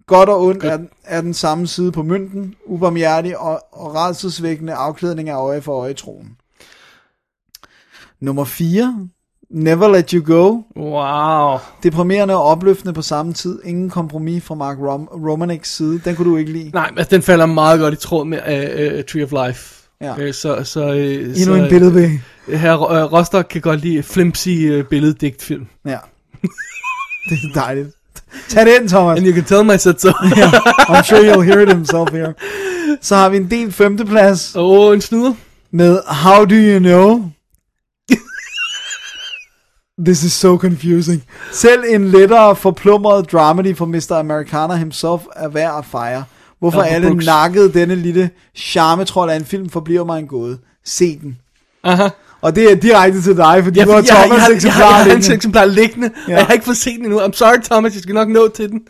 Godt og ondt er, er den samme side på mynten, ubarmhjertig og, og redselsvækkende afklædning af øje for øjetroen. Nummer 4, Never Let You Go.
Wow.
Deprimerende og opløftende på samme tid. Ingen kompromis fra Mark Rom- Romaneks side. Den kunne du ikke lide.
Nej, men den falder meget godt i tråd med uh, uh, Tree of Life.
Ja.
Øh, så, så, uh,
Endnu en billedbag.
Her uh, Rostock kan godt lide flimsy uh, billeddigtfilm.
Ja. det er dejligt. Tag det ind, Thomas.
And you can tell my set so.
ja, I'm sure you'll hear it himself here. Så har vi en del femteplads.
Åh, oh, en snyder.
Med How Do You Know? This is so confusing. Selv en lettere forplumret dramedy for Mr. Americana himself er værd at fejre. Hvorfor
Ja, på
alle
Brooks.
nakkede denne lille charmetrol af en film forbliver mig en gåde. Se den.
Aha.
Og det er direkte til dig, fordi
Ja,
du har
fordi jeg, har- jeg,
Thomas
har- jeg, har- jeg
eksemplar
har hans
liggende.
eksemplar liggende,
Ja.
ja. og jeg har ikke fået set den endnu. I'm sorry, Thomas, jeg skal nok nå til den.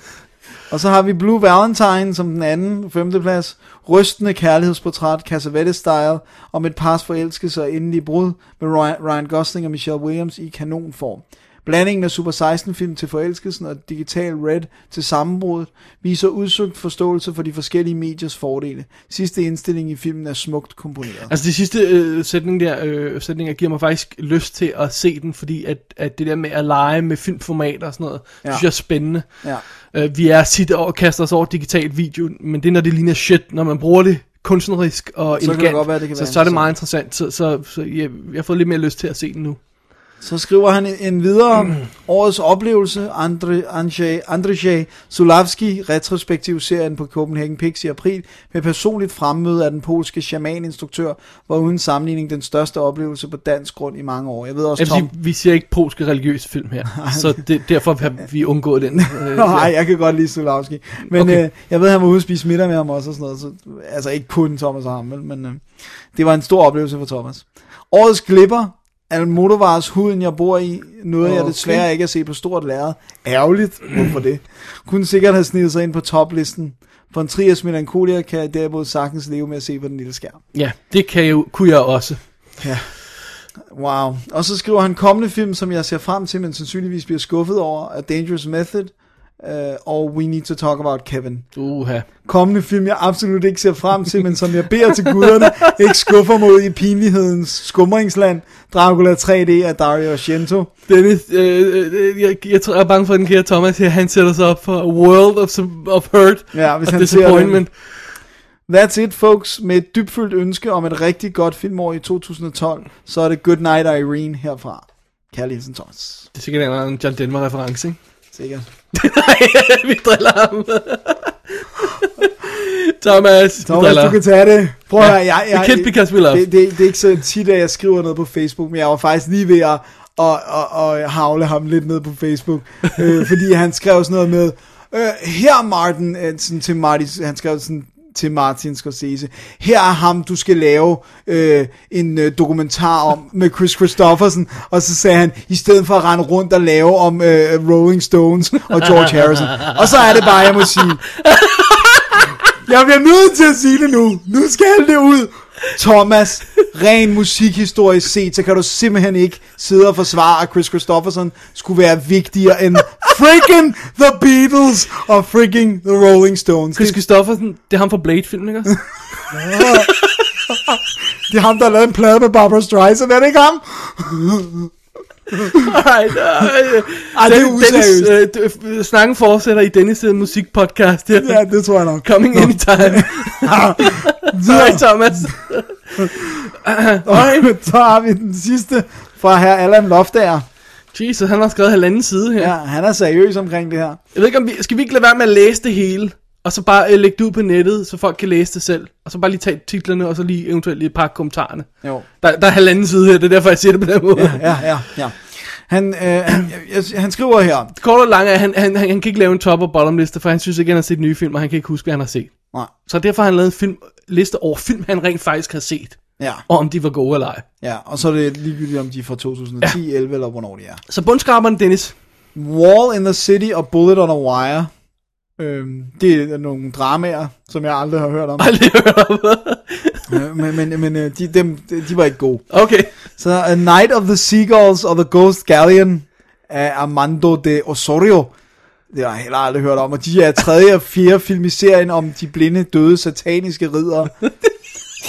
Og så har vi Blue Valentine som den anden femteplads. Rystende kærlighedsportræt, Cassavetes-style, om et pars forelskelse og endelig brud med Ryan- Ryan Gosling og Michelle Williams i kanonform. Blandingen af Super 16-film til forelskelsen og Digital Red til sammenbruddet viser udsøgt forståelse for de forskellige mediers fordele. Sidste indstilling i filmen er smukt komponeret.
Altså, det sidste øh, sætning der, øh, sætninger giver mig faktisk lyst til at se den, fordi at, at det der med at lege med filmformater og sådan noget,
Ja.
ja. synes jeg er spændende.
Ja.
Øh, vi er sit og kaster os over digital video, men det er, når det ligner shit, når man bruger det kunstnerisk og
Så kan det
elegant,
godt være, det kan
så,
være
så er det meget interessant. Så, så, så jeg, jeg får lidt mere lyst til at se den nu.
Så skriver han en- en videre årets oplevelse, Andre, Andrzej, Andrzej Sulavski, retrospektiv serien på Copenhagen Pix i april, med personligt fremmøde af den polske shamaninstruktør, var uden sammenligning den største oplevelse på dansk grund i mange år. Jeg ved også,
Jeg vil
Tom...
sige, Altså, vi ser ikke polske religiøse film her, så det, derfor har vi undgået den. Øh,
Nej, jeg kan godt lide Sulavski. Men okay.
Okay.
øh, jeg ved, at han var ude at spise middag med ham også og sådan noget. Så, altså ikke kun Thomas og ham, vel, men øh, det var en stor oplevelse for Thomas. Årets glipper, Almodovars Huden, jeg bor i, noget okay. jeg
Okay.
desværre ikke har set på stort lærred. Ærgerligt, hvorfor det? Kunne sikkert have snedet sig ind på toplisten. For en trias melankolia kan jeg derimod sagtens leve med at se på den lille skærm.
Ja, det kan jeg, jo- kunne jeg også.
Wow. Og så skriver han kommende film, som jeg ser frem til, men sandsynligvis bliver skuffet over, er Dangerous Method øh, og We Need to Talk About Kevin.
Uha.
kommende film, jeg absolut ikke ser frem til, men som jeg beder til guderne, ikke skuffer mod i pinlighedens skumringsland, Dracula 3D af Dario Argento.
Dennis, øh, øh, jeg, jeg tror, jeg er bange for, at den kære Thomas her, han sætter sig op for World of, of Hurt
Ja, hvis
og
han ser
Disappointment.
That's it, folks. Med et dybfølt ønske om et rigtig godt filmår i 2012, så er det Good Night Irene herfra. Kærlig hilsen, Thomas.
Det er sikkert en eller anden John Denver-reference, ikke?
Sikkert.
Nej, vi driller ham. Thomas, vi
Thomas,
driller.
du kan tage det. Prøv at
Ja.
høre, jeg, jeg,
The kid because we love.
Det, det, det er ikke så tit, at jeg skriver noget på Facebook, men jeg var faktisk lige ved at og, og, og havle ham lidt ned på Facebook, øh, fordi han skrev sådan noget med, øh, her Martin, øh, sådan til Martin, han skrev sådan til Martin Scorsese, her er ham, du skal lave øh, en øh, dokumentar om med Chris Christofferson, og så sagde han, i stedet for at rende rundt og lave om øh, Rolling Stones og George Harrison, og så er det bare, jeg må sige, jeg bliver nødt til at sige det nu. Nu skal det ud. Thomas, ren musikhistorisk set, så kan du simpelthen ikke sidde og forsvare, at Chris Christofferson skulle være vigtigere end freaking The Beatles og freaking The Rolling Stones.
Chris
Det,
Christoffersen, det er ham fra Blade-filmen, ikke også?
det er ham, der har lavet en plade med Barbara Streisand, er det ikke ham?
Alright, øh,
Ej, det er useriøst.
Dennis, øh, d- øh, snakken fortsætter i Dennis' øh, musikpodcast her.
Ja, det tror jeg nok.
Coming anytime. Alright, Thomas.
Og så har vi den sidste fra her Allan Loftager.
Jesus, han har skrevet halvanden side her.
Ja, han er seriøs omkring det her.
Jeg ved ikke, om vi, skal vi ikke lade være med at læse det hele? Og så bare øh, lægge det ud på nettet, så folk kan læse det selv. Og så bare lige tage titlerne, og så lige eventuelt lige et par kommentarerne.
Jo.
Der, der er halvanden side her, det er derfor, jeg siger det på den måde.
Ja, ja, ja. ja. Han, øh, han, jeg, jeg- han skriver her,
Kort og langt, er, at han, han, han, han kan ikke lave en top- og bottom-liste, for han synes ikke, han har set nye film, og han kan ikke huske, hvad han har set.
Nej.
Så derfor har han lavet en film, liste over film, han rent faktisk har set.
Ja.
Og om de var gode eller ej.
ja, og så er det ligegyldigt, om de er fra 2010, ja. 11 eller hvornår de er.
Så bundskraberen, Dennis.
Wall in the City og Bullet on a Wire. Øhm, det er nogle dramaer, som jeg aldrig har hørt om.
Aldrig hørt om.
Øh, men men, men øh, de, dem, de var ikke gode.
Okay.
Så A Night of the Seagulls og The Ghost Galleon af Armando de Osorio. Det har jeg heller aldrig hørt om. Og de er tredje og fjerde film i serien om de blinde, døde, sataniske ridere.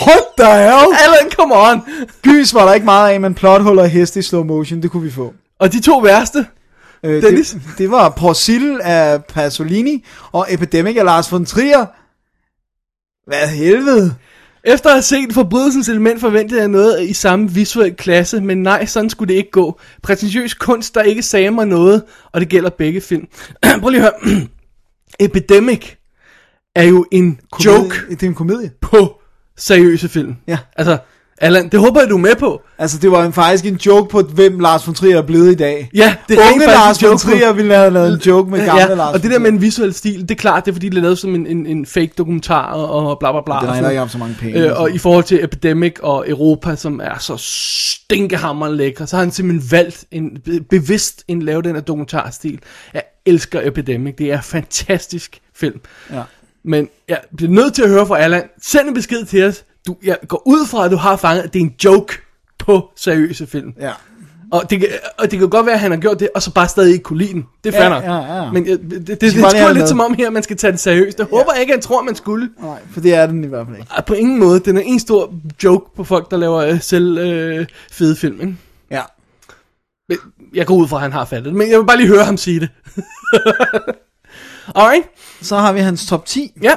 What the hell?
Alan, come on.
Gys var der ikke meget af, men plothuller og heste i slow motion, det kunne vi få.
Og de to værste.
Øh,
Dennis?
det, det var Porcil af Pasolini og Epidemic af Lars von Trier. Hvad helvede?
Efter at have set forbrydelsens element, forventede jeg noget i samme visuel klasse, men nej, sådan skulle det ikke gå. Prætentiøs kunst, der ikke sagde mig noget, og det gælder begge film. Prøv lige at høre. Epidemic er jo en joke
Komedie. Det er en komedie.
på seriøse film.
Ja.
Altså, Allan, det håber jeg, du er med på.
Altså, det var en, faktisk en joke på, hvem Lars von Trier er blevet i dag.
Ja, det
det
er
er
rent
Unge Lars
faktisk en
von
joke på-
Trier ville have lavet en joke med gamle
ja,
Lars
og
von
det der med
Trier.
en visuel stil, det er klart, det er fordi, det er lavet som en, en, en fake dokumentar og og bla bla bla.
Den
og
har
sådan.
ikke haft så mange penge.
Øh, og i forhold til Epidemic og Europa, som er så stinkehammer lækker, så har han simpelthen valgt en, be- bevidst en lave den her dokumentarstil. Jeg elsker Epidemic, det er en fantastisk film.
Ja.
Men jeg bliver nødt til at høre fra Allan, send en besked til os. Du, jeg går ud fra, at du har fanget, at det er en joke på seriøse film.
ja.
Og det, kan, og det kan godt være, at han har gjort det, og så bare stadig ikke kunne lide den. Det
Ja,
fatter
ja, ja.
Men øh, det, det, det,
bare
det
lige have
er
den med.
lidt som om her, at man skal tage den seriøst. Jeg håber ikke, han tror, man skulle.
Nej, for det er den i hvert fald ikke.
Ej, På ingen måde. Den er en stor joke på folk, der laver øh, selv øh, fede film. Ikke?
Ja.
Men Jeg går ud fra, at han har fattet det, men jeg vil bare lige høre ham sige det. Alright,
Så har vi hans top 10
ja.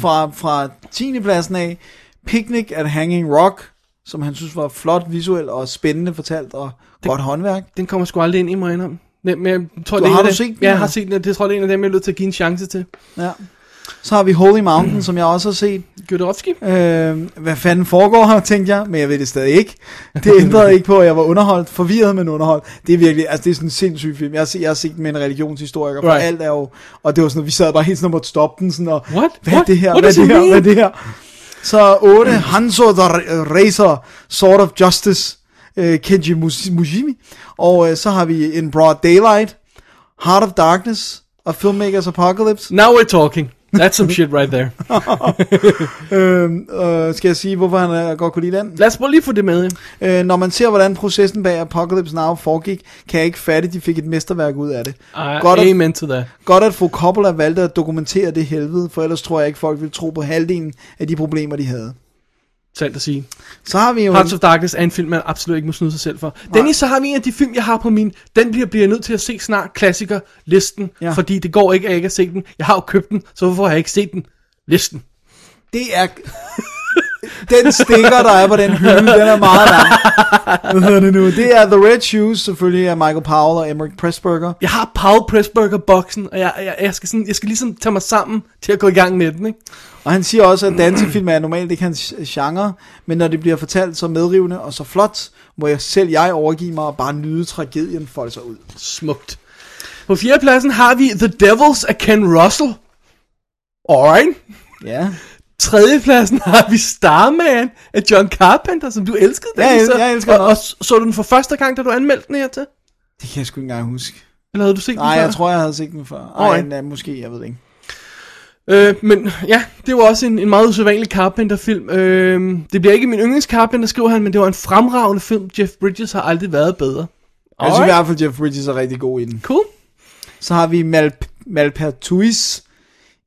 fra, fra 10. pladsen af. Picnic at Hanging Rock, som han synes var flot visuelt og spændende fortalt og det, godt håndværk.
Den kommer sgu aldrig ind i mig indom. Nej, men jeg tror,
Du-
det er
har
en af
du set
dem-
den,
Ja, jeg
eller?
har set den, og det tror jeg, det er en af dem, jeg er nødt til at give en chance til.
Ja. Så har vi Holy Mountain, som jeg også har set.
Gødorovski?
Øh, hvad fanden foregår her, tænkte jeg, men jeg ved det stadig ikke. Det ændrede ikke på, at jeg var underholdt, forvirret, men underholdt. Det er virkelig, altså det er sådan en sindssyg film. Jeg har set, jeg har set den med en religionshistoriker, for
Right.
right. alt er jo, og det var sådan, at vi sad bare helt sådan og måtte stoppe den, sådan og,
What?
hvad er
What?
det her,
What
hvad er
does
det
it
her,
mean?
hvad er det her? Så 8, Hanzo the Racer, Sword of Justice, øh, Kenji Mus- Mushimi, og øh, så har vi In Broad Daylight, Heart of Darkness, og Filmmakers Apocalypse,
Now we're talking. That's some shit right there.
Øhm, øh, skal jeg sige, hvorfor han øh, godt kunne lide den?
Lad os prøve lige få det med. ja.
Øh, når man ser, hvordan processen bag Apocalypse Now foregik, kan jeg ikke fatte, at de fik et mesterværk ud af det.
Ej,
Godt at-
amen to that.
Godt at fru Coppola valgte at dokumentere det helvede, for ellers tror jeg ikke, folk ville tro på halvdelen af de problemer, de havde.
Sandt at sige.
Så har vi jo...
Hearts of Darkness er en film, man absolut ikke må snyde sig selv for. Dennis, så har vi en af de film, jeg har på min, den bliver, bliver jeg nødt til at se snart, klassikerlisten,
Ja.
ja. fordi det går ikke, at jeg ikke har set den. Jeg har jo købt den, så hvorfor har jeg ikke set den? Listen.
Det er... den stikker, der er på den hylde, den er meget lang. Hvad hedder det nu? Det er The Red Shoes, selvfølgelig af Michael Powell og Emmerich Pressburger.
Jeg har Paul Pressburger-boksen, og jeg, jeg, jeg, skal sådan, jeg skal ligesom tage mig sammen til at gå i gang med den, ikke?
Og han siger også, at dansefilm er normalt ikke hans genre, men når det bliver fortalt så medrivende og så flot, må jeg selv jeg overgive mig og bare nyde tragedien folde sig ud.
Smukt. På fjerdepladsen har vi The Devils af Ken Russell. Alright.
Ja.
Tredjepladsen har vi Starman af John Carpenter, som du elskede.
Ja,
Dennis,
jeg-
så-
jeg elsker
og,
den
og, så, så du den for første gang, da du anmeldte den her til?
Det kan jeg sgu ikke engang huske.
Eller havde du set den
Nej,
før?
jeg tror, jeg havde set den før. Ej,
Alright.
nej, måske, jeg ved det ikke.
Øh, men ja, det var også en, en meget usædvanlig Carpenter-film. Øh, det bliver ikke min yndlings Carpenter, skriver han, men det var en fremragende film. Jeff Bridges har aldrig været bedre.
Jeg synes Altså, i
Alright.
hvert fald, Jeff Bridges er rigtig god i den.
Cool.
Så har vi Mal- Malpertuis.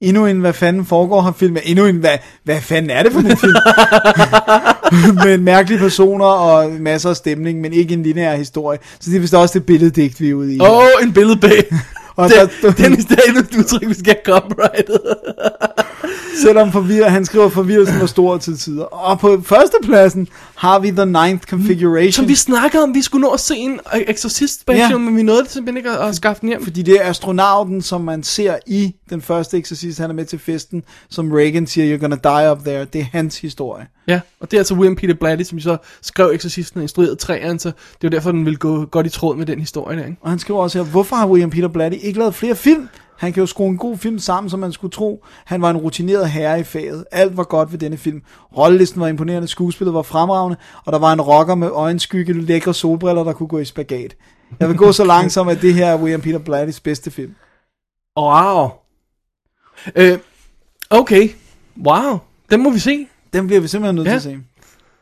Endnu en, hvad fanden foregår her film? Endnu en, hvad, hvad fanden er det for en film? Med mærkelige personer og masser af stemning, men ikke en lineær historie. Så det er vist også det billeddigt, vi er ude i.
Åh, oh, en billedbag.
og
Den,
der,
Dennis, det er endnu et udtryk, vi skal have copyrightet.
Selvom forvirret, han skriver forvirrelsen var stor til tider. Og på førstepladsen har vi The Ninth Configuration.
Som vi snakkede om, vi skulle nå at se en Exorcist special, ja. men vi nåede det simpelthen ikke at, at skaffe den hjem.
Fordi det er astronauten, som man ser i den første Exorcist, han er med til festen, som Reagan siger, you're gonna die up there. Det er hans historie.
Ja, og det er altså William Peter Blatty, som så skrev Exorcisten og instruerede træerne, så det er jo derfor, den vil gå godt i tråd med den historie der. Ikke?
Og han skriver også her, hvorfor har William Peter Blatty ikke lavet flere film? Han kan jo skrue en god film sammen, som man skulle tro. Han var en rutineret herre i faget. Alt var godt ved denne film. Rollelisten var imponerende, skuespillet var fremragende, og der var en rocker med øjenskygge, lækre solbriller, der kunne gå i spagat. Jeg vil gå så langt som, at det her er William Peter Blattys bedste film.
Wow. Øh, okay. Wow. Den må vi se.
Den bliver vi simpelthen nødt ja. til at se.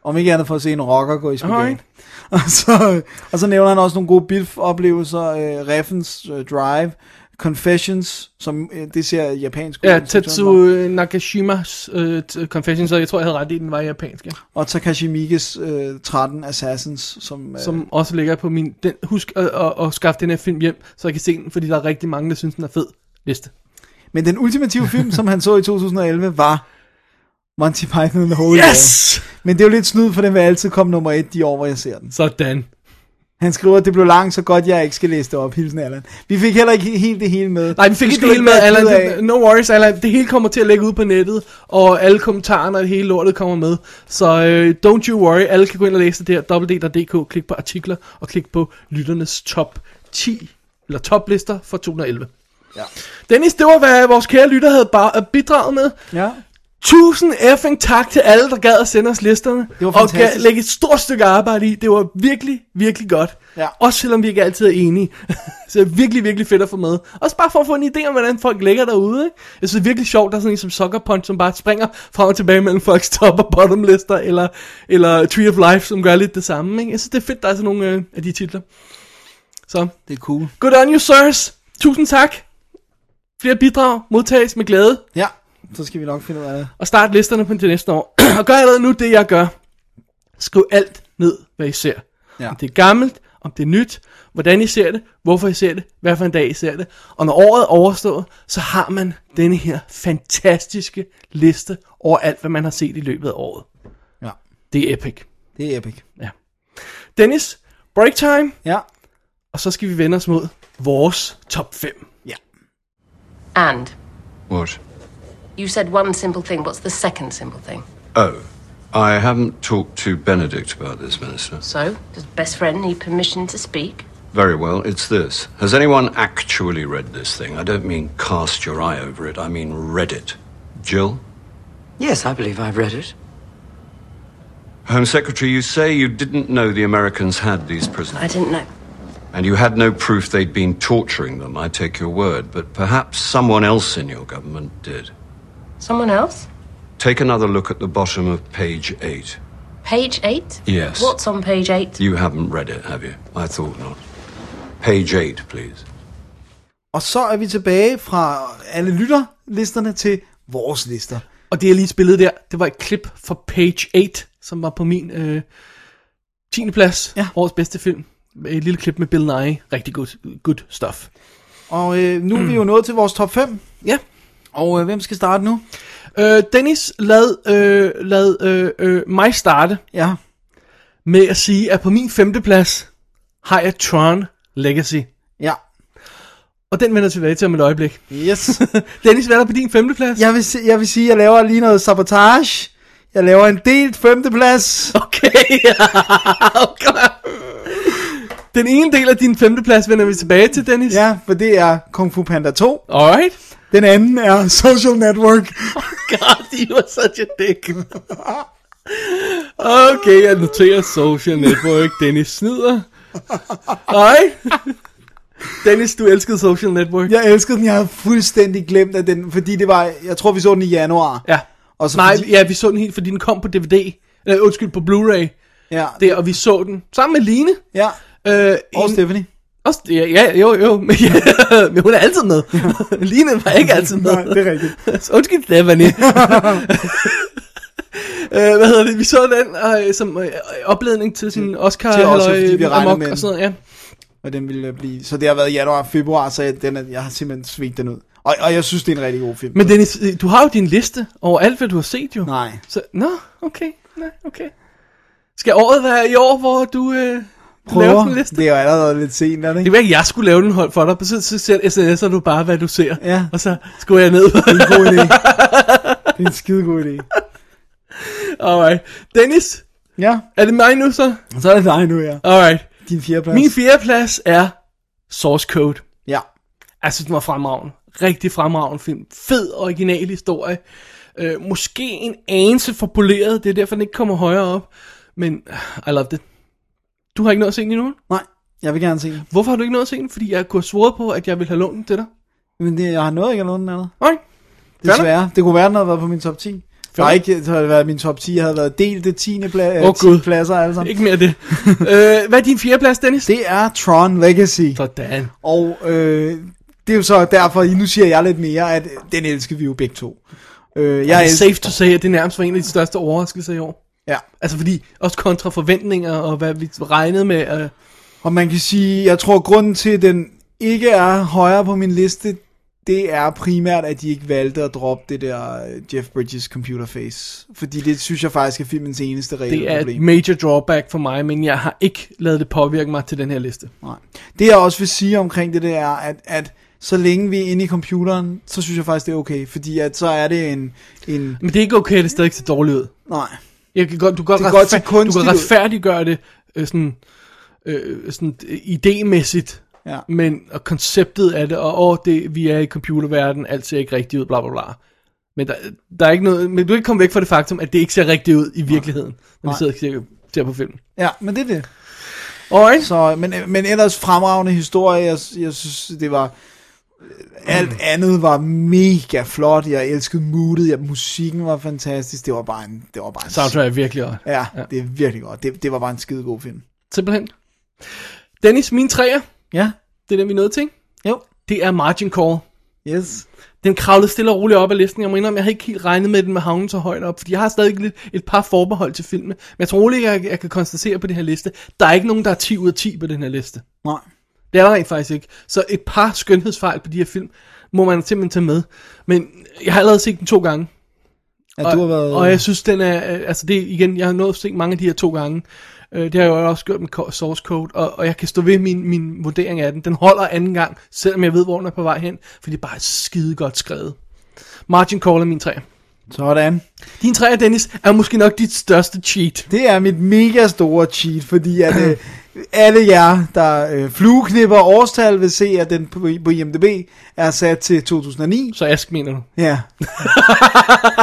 Om ikke andet for at se en rocker gå i spagat.
Alright.
Og så, og så nævner han også nogle gode bilf-oplevelser. Øh, Reffens øh, Drive. Confessions, som øh, det ser japansk
ud. Ja, Tetsu Nakashimas øh, t- Confessions, og jeg tror, jeg havde ret i, den var japansk. Ja.
Og Takashi Miikes øh, 13 Assassins, som... Øh,
Som også ligger på min... Den, husk at, at, at skaffe den her film hjem, så jeg kan se den, fordi der er rigtig mange, der synes, den er fed liste.
Men den ultimative film, som han så i 2011, var Monty Python and the Holy
Yes!
Grail. Men det er jo lidt snyd, for den vil altid komme nummer et de år, hvor jeg ser den.
Sådan.
Han skriver, at det blev langt så godt, jeg ikke skal læse det op. Hilsen Allan. Vi fik heller ikke helt det hele med.
Nej, vi fik
Du
ikke
skal
det hele med,
være ked af-
Allan. No worries, Allan. Det hele kommer til at lægge ud på nettet, og alle kommentarerne og det hele lortet kommer med. Så øh, don't you worry, alle kan gå ind og læse det der, www.dk, klik på artikler, og klik på lytternes top 10, eller toplister for 2011.
Ja.
Dennis, det var, hvad vores kære lytter havde bare, øh, bidraget med.
Ja.
Tusind effing tak til alle, der gad at sende os listerne.
Det var
og
fantastisk.
gav, lægge et stort stykke arbejde i. Det var virkelig, virkelig godt.
Ja.
Også selvom vi ikke altid er enige. så det er virkelig, virkelig fedt at få med. Også bare for at få en idé om, hvordan folk ligger derude. Ikke? Jeg synes, det er virkelig sjovt, der er sådan en som Sucker Punch, som bare springer frem og tilbage mellem folks top- og bottomlister, eller, eller Tree of Life, som gør lidt det samme. Ikke? Jeg synes, det er fedt, der er sådan nogle øh, af de titler. Så,
Det er cool.
good on you, sirs. Tusind tak. Flere bidrag modtages med glæde
Ja, så skal vi nok finde ud af det.
og start listerne på til næste år. og gør allerede nu det, jeg gør. Skriv alt ned, hvad I ser.
Ja.
Om det er gammelt, om det er nyt, hvordan I ser det, hvorfor I ser det, hvad for en dag I ser det. Og når året er overstået, så har man denne her fantastiske liste over alt, hvad man har set i løbet af året.
Ja.
Det er epic.
Det er epic.
Dennis, break time,
Ja.
og så skal vi vende os mod vores top 5.
And
What?
you said one simple thing. What's the second simple thing?
Oh, I haven't talked to Benedict about this, Minister.
So, does best friend need permission to speak?
Very well, it's this. Has anyone actually read this thing? I don't mean cast your eye over it, I mean read it. Jill?
Yes, I believe I've read it.
Home Secretary, you say you didn't know the Americans had these prisoners.
I didn't know.
And you had no proof they'd been torturing them, I take your word, but perhaps someone else in your government did.
Someone else?
Take another look at the bottom of page 8.
Page eight?
Yes.
What's on page eight?
You haven't read it, have you? I thought not. Page 8, please.
Og så er vi tilbage fra alle lytterlisterne til vores lister.
Og det jeg lige spillede der, det var et klip fra Page 8, som var på min øh, 10. plads,
Ja.
ja. årets bedste film. Et lille klip med Bill Nye, rigtig good, good stuff.
Og øh, nu er vi jo nået til vores top 5.
Ja.
Og øh, hvem skal starte nu?
Øh, Dennis, lad, øh, lad øh, øh, mig starte
Ja.
med at sige, at på min 5. plads har jeg Tron Legacy.
Ja.
Og den vender tilbage til om et øjeblik.
Yes.
Dennis, hvad er der på din 5. plads?
jeg, vil, si- jeg vil sige, at jeg laver lige noget sabotage. Jeg laver en delt femteplads.
Okay, okay. Den ene del af din 5. plads vender vi tilbage til, Dennis.
Ja, for det er Kung Fu Panda 2.
Alright.
Den anden er Social Network.
God, you are such a dick. Okay, jeg noterer social network. Dennis snyder. Nej. Dennis, du elskede social network.
Jeg elskede den, jeg havde fuldstændig glemt af den, fordi det var, jeg tror vi så den i januar.
Ja.
Og så
Nej,
fordi-
ja, vi så den helt, fordi den kom på DVD. Eller, Øh, undskyld, på Blu-ray.
Ja,
Der, og vi så den sammen med Line.
ja.
Øh,
og
en-
Stephanie.
Også, ja, ja, jo, jo. Men, men hun er altid med. Line var ikke altid med.
Nej, det er rigtigt.
Så Undskyld, Stephanie. Øh, hvad hedder det? Vi så den øh, som øh, opladning til sin Oscar
til også,
halløj,
fordi vi regner
amok
med
og sådan noget, ja.
øh, Og den ville blive, så det har været januar og februar, så jeg, den er, jeg har simpelthen svigt den ud. Og, og jeg synes, det er en rigtig god film.
Men Dennis, øh, du har jo din liste over alt, hvad du har set jo.
Nej.
Så, nå, okay, nej, okay. Skal året være i år, hvor du øh, laver
Prøver.
sådan en liste?
Det er jo allerede lidt sent, er det
Det
ikke?
var ikke, jeg skulle lave den hold for dig, men så, så ser- sms'er du bare, hvad du ser.
Ja.
Og så skulle jeg ned.
Det er en god idé. Det er en skide god idé.
Alright. Dennis?
Ja?
Er det mig nu så?
Så er det dig nu, ja.
Alright.
Din fjerdeplads.
Min fjerdeplads er Source Code.
Ja.
Jeg synes, Altså, den var fremragende. Rigtig fremragende film. Fed original historie. Øh, måske en anelse for poleret. Det er derfor, den ikke kommer højere op. Men øh, I loved it. Du har ikke noget at se den endnu?
Nej, jeg vil gerne se den.
Hvorfor har du ikke noget at se den? Fordi jeg kunne have svoret på, at jeg ville have lånt den til dig.
Men det, jeg har noget ikke at låne den anden.
Nej.
Desværre. Det kunne være, den havde været på min top 10.
Fair.
Nej, ikke, så havde det været min top 10. Jeg havde været delt det 10. Pla-
Åh,
oh, 10
Gud.
pladser alle sammen.
Ikke mere af det. øh, hvad er din fjerdeplads, Dennis?
Det er Tron Legacy.
Sådan.
Og øh, det er jo så derfor, nu siger jeg lidt mere, at den elsker vi jo begge to. Øh,
Jeg er
jeg
det
elsker,
safe to say, at det nærmest var en af de største overraskelser i år.
ja.
Altså fordi, også kontra forventninger og hvad vi regnede med. Øh,
Og man kan sige, jeg tror grunden til, at den ikke er højere på min liste, det er primært, at de ikke valgte at droppe det der øh, Jeff Bridges computerface. Fordi det synes jeg faktisk er filmens eneste reelle
det er et
problem.
major drawback for mig, men jeg har ikke lavet det påvirke mig til den her liste.
Nej. Det jeg også vil sige omkring det, det er, at, at så længe vi er inde i computeren, så synes jeg faktisk, det er okay. Fordi at så er det en... en
Men det er ikke okay, at det stadig ser dårligt ud.
nej.
Jeg kan godt, du kan
Det
godt,
kan godt se
retfær- du
kunstigt
kan
ud.
retfærdiggøre det øh, sådan, øh, sådan øh, idémæssigt,
Ja.
men og konceptet af det, og åh, det, vi er i computerverdenen, alt ser ikke rigtigt ud, bla bla bla. Men, der, der er ikke noget, men du kan ikke komme væk fra det faktum, at det ikke ser rigtigt ud i virkeligheden, når vi
Nej.
sidder og ser, ser på filmen.
Ja, men det er det.
Alright.
Så, men, men ellers fremragende historie. Jeg, jeg synes, det var... Alt andet var mega flot. Jeg elskede moodet. Jeg, musikken var fantastisk. Det var bare en... Det var bare en
Soundtrack er virkelig godt.
Ja, det er virkelig godt. Det, det var bare en skide god film.
Simpelthen. Dennis, min træer,
Ja.
det er den, vi nåede til, ikke?
Jo.
det er Margin Call.
Yes.
Den kravlede stille og roligt op ad listen. Jeg må indrømme, jeg havde ikke helt regnet med, at den var havnet så højt op, fordi jeg har stadig lidt, et par forbehold til filmen. Men jeg tror roligt, jeg, jeg kan konstatere på den her liste, der er ikke nogen, der er 10 ud af 10 på den her liste.
Nej.
Det er der rent faktisk ikke. Så et par skønhedsfejl på de her film, må man simpelthen tage med. Men jeg har allerede set den to gange.
Ja, du har været...
Og jeg synes, den er, øh, altså det er igen, jeg har nået at se mange af de her to gange. Øh, Det har jeg jo også gjort med Co- Source Code, og, og jeg kan stå ved min, min vurdering af den. Den holder anden gang, selvom jeg ved, hvor den er på vej hen, for det er bare skide godt skrevet. Margin Call er min træer.
Sådan.
Din træer, Dennis, er måske nok dit største cheat.
Det er mit mega store cheat, fordi at, øh, alle jer, der øh, flueknipper årstal, vil se, at den på, på IMDb er sat til 2009.
Så Ask mener du.
Ja.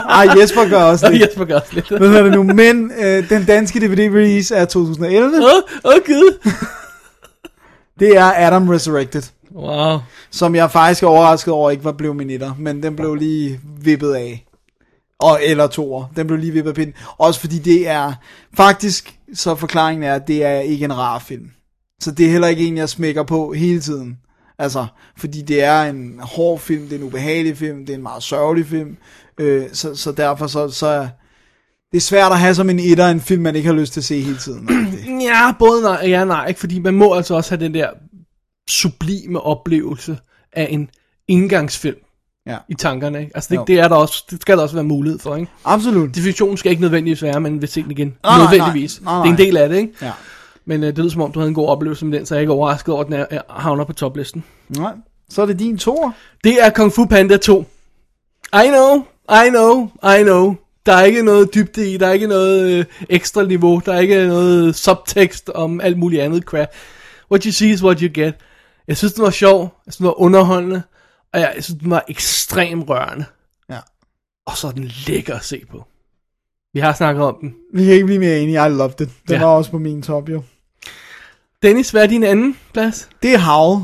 Ej, Jesper gør også
Og
det.
Jesper gør også lidt.
Hvad hedder det nu? Men øh, den danske DVD-release er 2011.
Åh, åh gud.
Det er Adam Resurrected,
Wow.
som jeg faktisk er overrasket over ikke var blevet min etter, men den blev lige vippet af. Og, eller toer. Den blev lige vippet af pinden. Også fordi det er, faktisk, så forklaringen er, at det er ikke en rar film. Så det er heller ikke en, jeg smækker på hele tiden. Altså, fordi det er en hård film, det er en ubehagelig film, det er en meget sørgelig film. Øh, så, så derfor så, så er det er svært at have som en etter en film, man ikke har lyst til at se hele tiden.
Ja, både nej og ja, nej, ikke? fordi man må altså også have den der sublime oplevelse af en indgangsfilm
Ja.
i tankerne. Ikke? Altså det,
Jo.
det, er der også, det skal der også være mulighed for. Ikke?
Absolut.
Definitionen skal ikke nødvendigvis være, men vil se den igen.
Nej, nej,
nødvendigvis.
nej, nej, nej.
Det er en del af det, ikke?
Ja.
Men øh, det lyder som om, du havde en god oplevelse med den, så jeg er ikke overrasket over, at den er, er, havner på toplisten.
Nej. Så er det din toer.
Det er Kung Fu Panda 2. I know, I know, I know. Der er ikke noget dybde i, der er ikke noget øh, ekstra niveau, der er ikke noget subtekst om alt muligt andet crap. What you see is what you get. Jeg synes, den var sjov, jeg synes, den var underholdende, og jeg synes, den var ekstremt rørende.
Ja.
Og så er den lækker at se på. Vi har snakket om den.
Vi kan ikke blive mere enige. I loved it. Den
Ja.
ja. var også på min top, jo.
Dennis, hvad er din anden plads?
Det er Howl.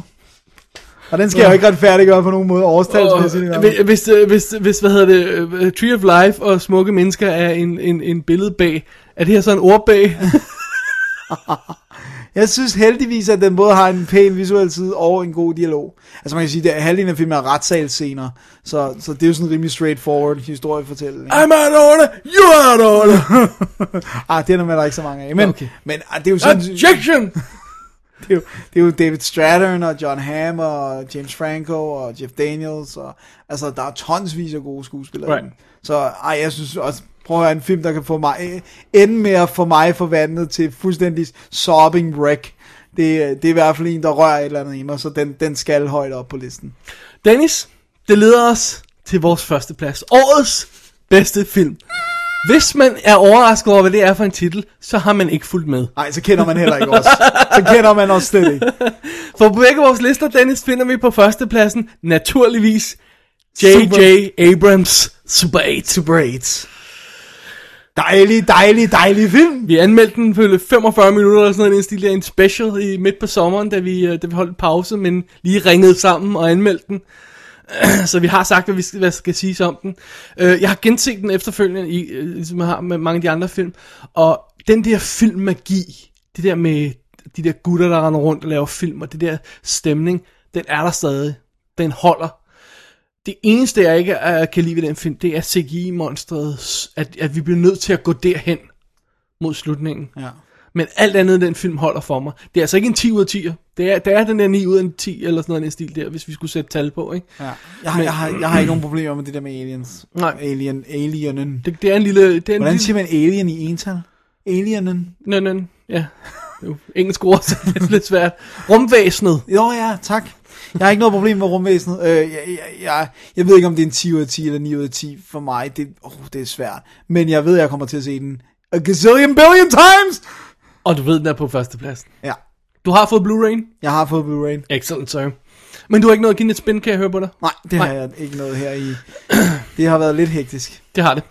Og den skal jeg jo ikke retfærdiggøre på nogen måde årstalsmæssigt. i hvert fald.
hvis, hvis, øh, hvis, hvis, hvad hedder det, øh, Tree of Life og Smukke Mennesker er en, en, en billedbag, er det her så en ordbag?
Jeg synes heldigvis, at den både har en pæn visuel side og en god dialog. Altså man kan sige, at halvdelen af filmen er retssalscener, så, så det er jo sådan en rimelig straightforward historiefortælling.
I'm out of order, you are out of order.
ah, det er der med, der er ikke så mange af. Men,
Okay.
okay. men ah, det er jo sådan...
Objection!
det, er jo, det er jo David Strattern og John Hamm og James Franco og Jeff Daniels. Og, altså, der er tonsvis af gode skuespillere. Right. Så ej, jeg synes også, prøv at høre, en film, der kan få mig, øh, ende med at få mig forvandlet til fuldstændig sobbing wreck. Det, det er i hvert fald en, der rører et eller andet i mig, så den, den skal højt op på listen.
Dennis, det leder os til vores første plads. Årets bedste film. Hvis man er overrasket over, hvad det er for en titel, så har man ikke fulgt med.
Nej, så kender man heller ikke os. Så kender man os slet ikke.
For på begge vores lister, Dennis, finder vi på førstepladsen, naturligvis, J.J. Abrams Super 8.
Super 8. Dejlig, dejlig, dejlig film.
Vi anmeldte den for 45 minutter eller sådan noget, en stil af en special i midt på sommeren, da vi, øh, da vi holdt pause, men lige ringede sammen og anmeldte den. Så vi har sagt, hvad vi skal, hvad skal sige om den. Øh, Jeg har genset den efterfølgende, i, ligesom jeg har med mange af de andre film, og den der filmmagi, det der med de der gutter, der render rundt og laver film, og det der stemning, den er der stadig. Den holder det eneste, jeg ikke uh, kan lide ved den film, det er CGI-monstret, at, at vi bliver nødt til at gå derhen mod slutningen.
Ja.
Men alt andet, den film holder for mig. Det er altså ikke en 10 ud af 10. Det er, det er den der 9 ud af 10, eller sådan noget, en stil der, hvis vi skulle sætte tal på, ikke?
Ja. Jeg, har, Men, jeg, har, jeg har ikke nogen problemer med det der med aliens.
Nej.
Alien, alienen.
Det, det er en lille... Det er en
Hvordan
lille...
siger man alien i ental? Alienen.
Nø, nø, ja. Jo, engelsk ord, så det er lidt svært. Rumvæsenet.
Jo, ja, tak. Jeg har ikke noget problem med rumvæsenet. Øh, jeg, jeg, jeg, jeg ved ikke, om det er en 10 ud af 10 eller 9 ud af 10 for mig. Det, oh, det er svært. Men jeg ved, at jeg kommer til at se den a gazillion billion times!
Og du ved, den er på førstepladsen.
Ja.
Du har fået Blu-ray?
Jeg har fået Blu-ray.
Excellent, sir. Men du har ikke noget at give et spin, kan jeg høre på dig?
Nej, det Nej. har jeg ikke noget her i. Det har været lidt hektisk.
Det har det.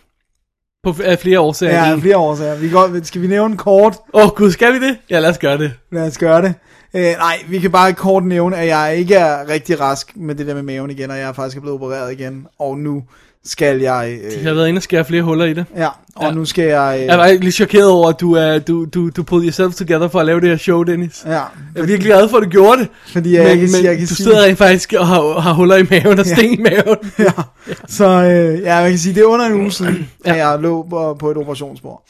På af flere årsager.
Ja, af flere årsager. Vi går, skal vi nævne kort?
Åh oh, gud, skal vi det? Ja, lad os gøre det.
Lad os gøre det. Øh, nej, vi kan bare kort nævne, at jeg ikke er rigtig rask med det der med maven igen, og jeg er faktisk blevet opereret igen, og nu skal jeg...
Øh... De har været inde og skære flere huller i det.
Ja, og ja. nu skal jeg... Øh...
Jeg var lidt chokeret over, at du, uh, du, du, du pulled yourself together for at lave det her show, Dennis.
Ja. Fordi...
Jeg er virkelig glad for, at du gjorde det.
Fordi jeg, men, jeg kan, men, jeg kan
du
sige...
sidder rent faktisk og har, har huller i maven og ja. sten i maven.
ja. ja. Så øh, ja, man kan sige, det er under en uge siden, ja. at jeg lå på, på et operationsbord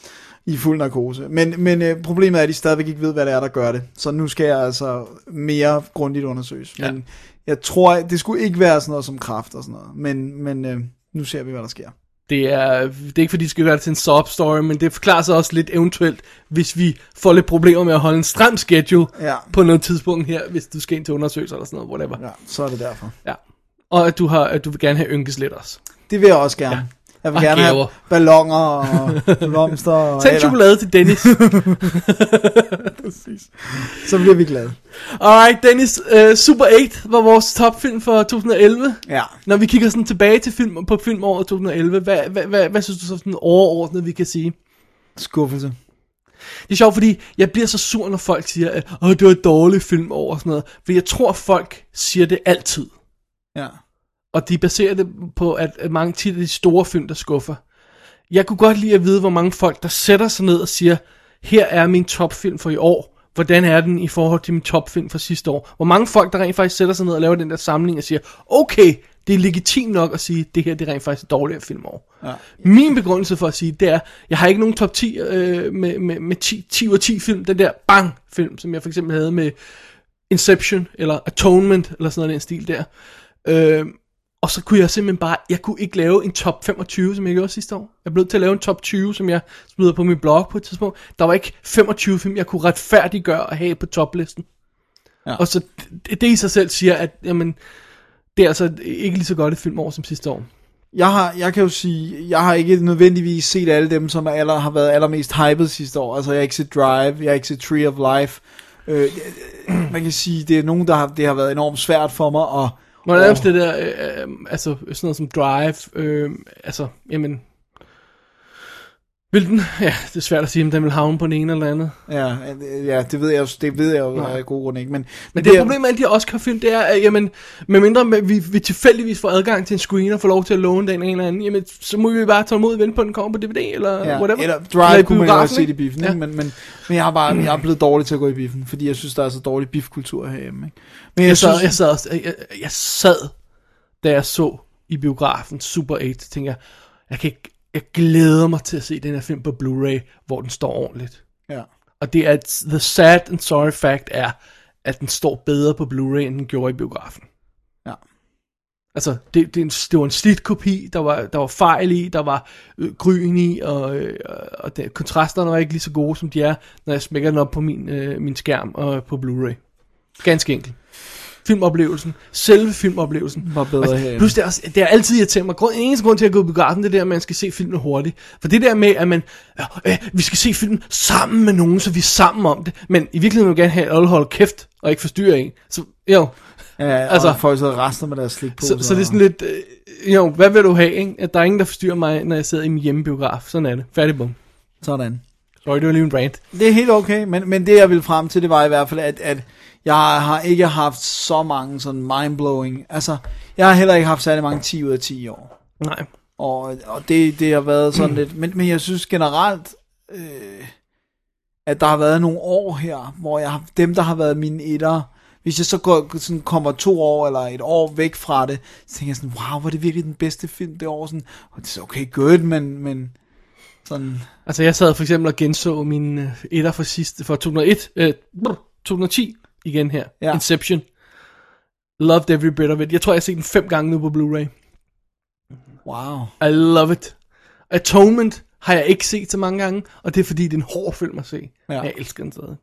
i fuld narkose. Men, men øh, problemet er, at de stadigvæk ikke ved, hvad det er, der gør det. Så nu skal jeg altså mere grundigt undersøges. Men ja. jeg tror, det skulle ikke være sådan noget som kraft og sådan noget. Men, men øh, nu ser vi, hvad der sker.
Det er, det er ikke fordi, det skal være til en sob story, men det forklarer sig også lidt eventuelt, hvis vi får lidt problemer med at holde en stram schedule
ja.
på noget tidspunkt her, hvis du skal ind til undersøgelser eller sådan noget, whatever.
Ja, så er det derfor.
Ja. Og at du, har, at du vil gerne have ynkes lidt også.
Det vil jeg også gerne. Ja. Jeg vil og gerne gaver. have ballonger og blomster. og
Send chokolade til Dennis.
Præcis. Så bliver vi glade.
Alright, Dennis. Uh, Super 8 var vores topfilm for 2011.
Ja.
Når vi kigger sådan tilbage til film, på filmåret 2011, hvad, hvad, hvad, hvad synes du så sådan overordnet, vi kan sige?
Skuffelse.
Det er sjovt, fordi jeg bliver så sur, når folk siger, at Åh, det var et dårligt film over og sådan noget. Fordi jeg tror, folk siger det altid.
Ja.
Og de baserer det på, at mange tit er de store film, der skuffer. Jeg kunne godt lide at vide, hvor mange folk, der sætter sig ned og siger, her er min topfilm for i år. Hvordan er den i forhold til min topfilm fra sidste år? Hvor mange folk, der rent faktisk sætter sig ned og laver den der samling og siger, okay, det er legitimt nok at sige, det her det er rent faktisk et dårligere filmår.
Ja.
Min begrundelse for at sige, det er, jeg har ikke nogen top 10 øh, med, med, med 10, 10 ud af 10 film, den der bang film, som jeg for eksempel havde med Inception, eller Atonement, eller sådan noget den stil der. Øh, og så kunne jeg simpelthen bare, jeg kunne ikke lave en top 25, som jeg gjorde sidste år. Jeg blev til at lave en top 20, som jeg smider på min blog på et tidspunkt. Der var ikke 25 film, jeg kunne retfærdiggøre at have på toplisten. Ja. Og så det, det i sig selv siger, at jamen, det er altså ikke lige så godt et filmår som sidste år.
Jeg, har, jeg kan jo sige, jeg har ikke nødvendigvis set alle dem, som aller, har været allermest hyped sidste år. Altså jeg har ikke set Drive, jeg har ikke set Tree of Life. Øh, man kan sige, det er nogen, der har, det har været enormt svært for mig at
må jeg nærmest det der, øh, altså sådan noget som Drive, øh, altså, jamen, vil den, ja, det er svært at sige, om den vil havne på den ene eller andet.
Ja, ja det ved jeg jo, det ved jeg jo af gode grunde ikke, men...
Men det, det problem med alle de Oscar-film, det er, at jamen, medmindre vi, vi tilfældigvis får adgang til en screen og får lov til at låne den en eller anden, jamen, så må vi bare tage imod og vente på, at den kommer på DVD eller
ja,
whatever.
Eller Drive eller kunne man jo også se i biffen, ja. ikke? Men, men, men jeg, har bare, jeg er blevet dårlig til at gå i biffen, fordi jeg synes, der er så dårlig bifkultur herhjemme, ikke? Men
jeg, jeg, synes, sad, jeg, sad, også, jeg, jeg sad, da jeg så i biografen Super 8, tænker jeg, jeg kan ikke jeg glæder mig til at se den her film på Blu-ray, hvor den står ordentligt.
Ja.
Og det er, the sad and sorry fact er, at den står bedre på Blu-ray, end den gjorde i biografen.
Ja.
Altså, det, det, er en, det var en slidt kopi, der var, der var fejl i, der var øh, gryn i, og, øh, og det, kontrasterne var ikke lige så gode, som de er, når jeg smækker den op på min, øh, min skærm og på Blu-ray. Ganske enkelt. Filmoplevelsen, selve filmoplevelsen.
Var bedre
og,
herhjemme.
Plus, det er, også, det er altid irriterende mig. Grund, eneste grund til at gå i biografen, det er der, at man skal se filmen hurtigt. For det der med, at man, øh, øh, vi skal se filmen sammen med nogen, så vi er sammen om det. Men i virkeligheden vil jeg gerne have, at alle holder kæft og ikke forstyrre en. Så, jo,
Ja, altså, og folk sidder og rester med deres slik på.
så, så det er sådan lidt, øh, jo, hvad vil du have, ikke? At der er ingen, der forstyrrer mig, når jeg sidder i min hjemmebiograf. Sådan er det. Færdig bum.
Sådan.
Sorry, det var lige en rant.
Det er helt okay, men, men det jeg ville frem til, det var i hvert fald, at, at jeg har ikke haft så mange sådan mindblowing. Altså, jeg har heller ikke haft særlig mange 10 ud af 10 år.
Nej.
Og, og det, det har været sådan lidt, men, men jeg synes generelt, øh, at der har været nogle år her, hvor jeg har, dem, der har været mine etter, hvis jeg så går, sådan kommer to år eller et år væk fra det, så tænker jeg sådan, wow, var det virkelig den bedste film det år? Sådan, og det er okay, good, men, men sådan,
Altså, jeg sad for eksempel og genså min øh, etter fra sidste, fra 2001, øh, brr, 2010 igen her.
Ja.
Inception. Loved every bit of it. Jeg tror, jeg har set den fem gange nu på Blu-ray.
wow.
I love it. Atonement har jeg ikke set så mange gange, og det er fordi, det er en hård film at se.
Ja.
Ja. Jeg elsker den stadig.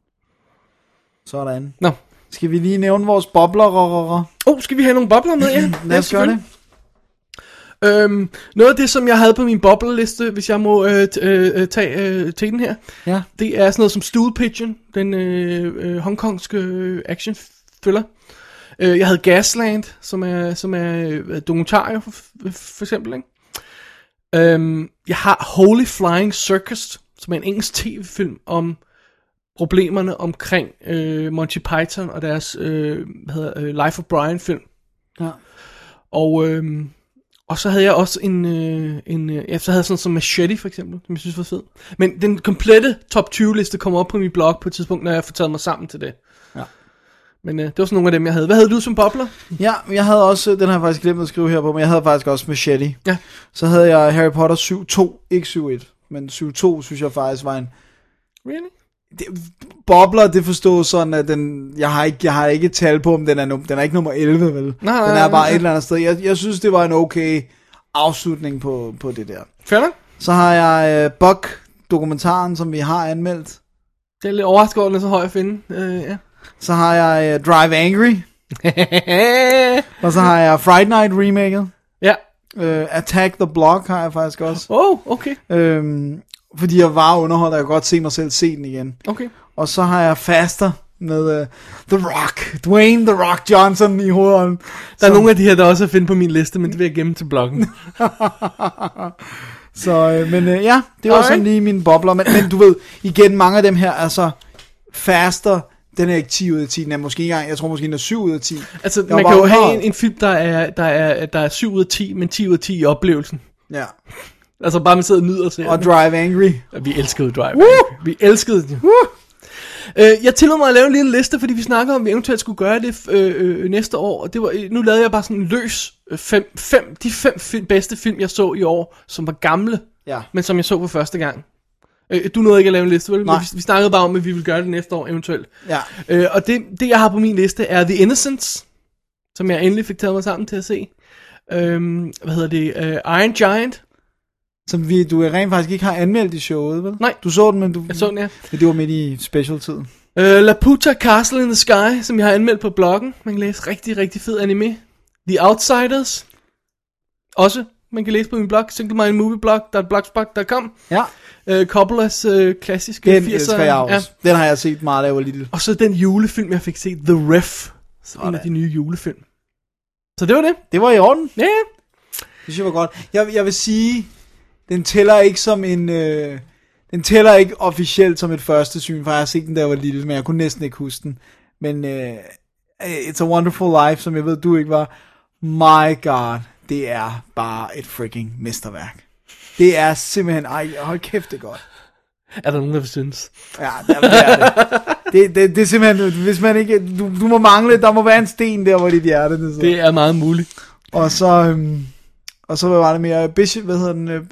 Sådan.
Nå.
Skal vi lige nævne vores bobler? rå, rå?
Oh, skal vi have nogle bobler med? Ja,
Lad
ja,
os gøre det.
Øhm, noget af det, som jeg havde på min bobleliste, hvis jeg må øh, t- øh, øh, tage øh, til den her,
Ja.
det er sådan noget som Stool Pigeon, den øh, øh, hongkongske øh, action thriller. Øh, jeg havde Gasland, som er, som er øh, dokumentarier for, for eksempel. Ikke? Øhm, jeg har Holy Flying Circus, som er en engelsk tv-film om problemerne omkring øh, Monty Python og deres øh, hvad hedder, øh, Life of Brian film.
Ja.
Og, øhm, og så havde jeg også en, øh, en øh, ja, så havde jeg sådan som Machete for eksempel, som jeg synes var fed. Men den komplette top 20 liste kommer op på min blog på et tidspunkt, når jeg får taget mig sammen til det.
Ja.
Men øh, det var sådan nogle af dem, jeg havde. Hvad havde du som bobler?
Ja, jeg havde også, den har jeg faktisk glemt at skrive her på, men jeg havde faktisk også Machete.
Ja.
Så havde jeg Harry Potter 7-2, ikke 7-1, men 7-2 synes jeg faktisk var en...
Really?
Bobler, det forstås sådan, at den, jeg, har ikke, jeg har ikke et tal på, om den er, num- den er ikke nummer 11, vel?
Nej,
den
nej,
er bare
nej.
et eller andet sted. Jeg, jeg synes, det var en okay afslutning på, på det der.
Fair nok.
Så har jeg uh, Buck, dokumentaren, som vi har anmeldt.
Det er lidt overrasket over, at den er så høj at finde. Øh, ja.
Så har jeg uh, Drive Angry, og så har jeg Friday Night remaket.
ja.
Uh, Attack the Block har jeg faktisk også.
Oh, okay.
Øhm, fordi jeg var underholdt, og jeg kan godt se mig selv se den igen.
Okay.
Og så har jeg Faster med uh, The Rock, Dwayne The Rock Johnson i hovedånden.
Der er nogle af de her, der også er at finde på min liste, men det vil jeg gemme til bloggen.
Så, øh, men øh, ja, det var sådan
Alright.
lige mine bobler. Men, men du ved, igen, mange af dem her, altså Faster, den er ikke 10 ud af 10, den er måske ikke engang, jeg tror måske den er 7 ud af 10.
Altså,
Jeg var
man
bare
kan jo have en,
underholdt.
en film, der er, der, er, der er 7 ud af 10, men 10 ud af 10 i oplevelsen.
Ja.
Altså bare man sidder og nyder til.
Og Drive Angry.
Ja, Vi elskede Drive. Woo! Vi elskede den. Øh, jeg tillod mig at lave en lille liste, fordi vi snakker om, at vi eventuelt skulle gøre det øh, øh, næste år. Og det var, øh, nu lavede jeg bare sådan en løs øh, fem, fem, de fem film, bedste film, jeg så i år, som var gamle,
Ja.
men som jeg så for første gang. Øh, du nåede ikke at lave en liste, vel? Men
Nej.
Vi, vi snakkede bare om, at vi ville gøre det næste år eventuelt.
Ja.
Øh, og det, det, jeg har på min liste, er The Innocence, som jeg endelig fik taget mig sammen til at se. Øhm, hvad hedder det? Øh, Iron Giant.
Som vi, du rent faktisk ikke har anmeldt i showet, vel?
Nej.
Du så den, men du...
Jeg så den, ja.
Men det var midt i specialtiden.
Uh, Laputa Castle in the Sky, som jeg har anmeldt på bloggen. Man kan læse rigtig, rigtig fed anime. The Outsiders. Også, man kan læse på min blog, singlemindmovieblog.blogspot.com.
Ja.
Uh, Coppolas uh, klassiske
Den
80'er.
elsker jeg også. Ja. Den har jeg set meget, da jeg var lille.
Og så den julefilm, jeg fik set, The Ref. Så en af de nye julefilm. Så det var det.
Det var i orden.
Ja, yeah.
Det synes jeg var godt. Jeg, jeg vil sige, den tæller ikke som en... Øh, den tæller ikke officielt som et første syn, for jeg har set den, da jeg var lille, men jeg kunne næsten ikke huske den. Men øh, It's a Wonderful Life, som jeg ved, du ikke var. My God, det er bare et freaking mesterværk. Det er simpelthen... Ej, hold kæft, det er godt.
er der nogen, der vil synes?
Ja, det er det. Det, det, det er simpelthen... Hvis man ikke... Du, du må mangle... Der må være en sten der, hvor dit hjerte... Det, sidder.
Det er meget muligt.
Og så, øhm, og så var det mere Bishop, hvad hedder den, øh, øh,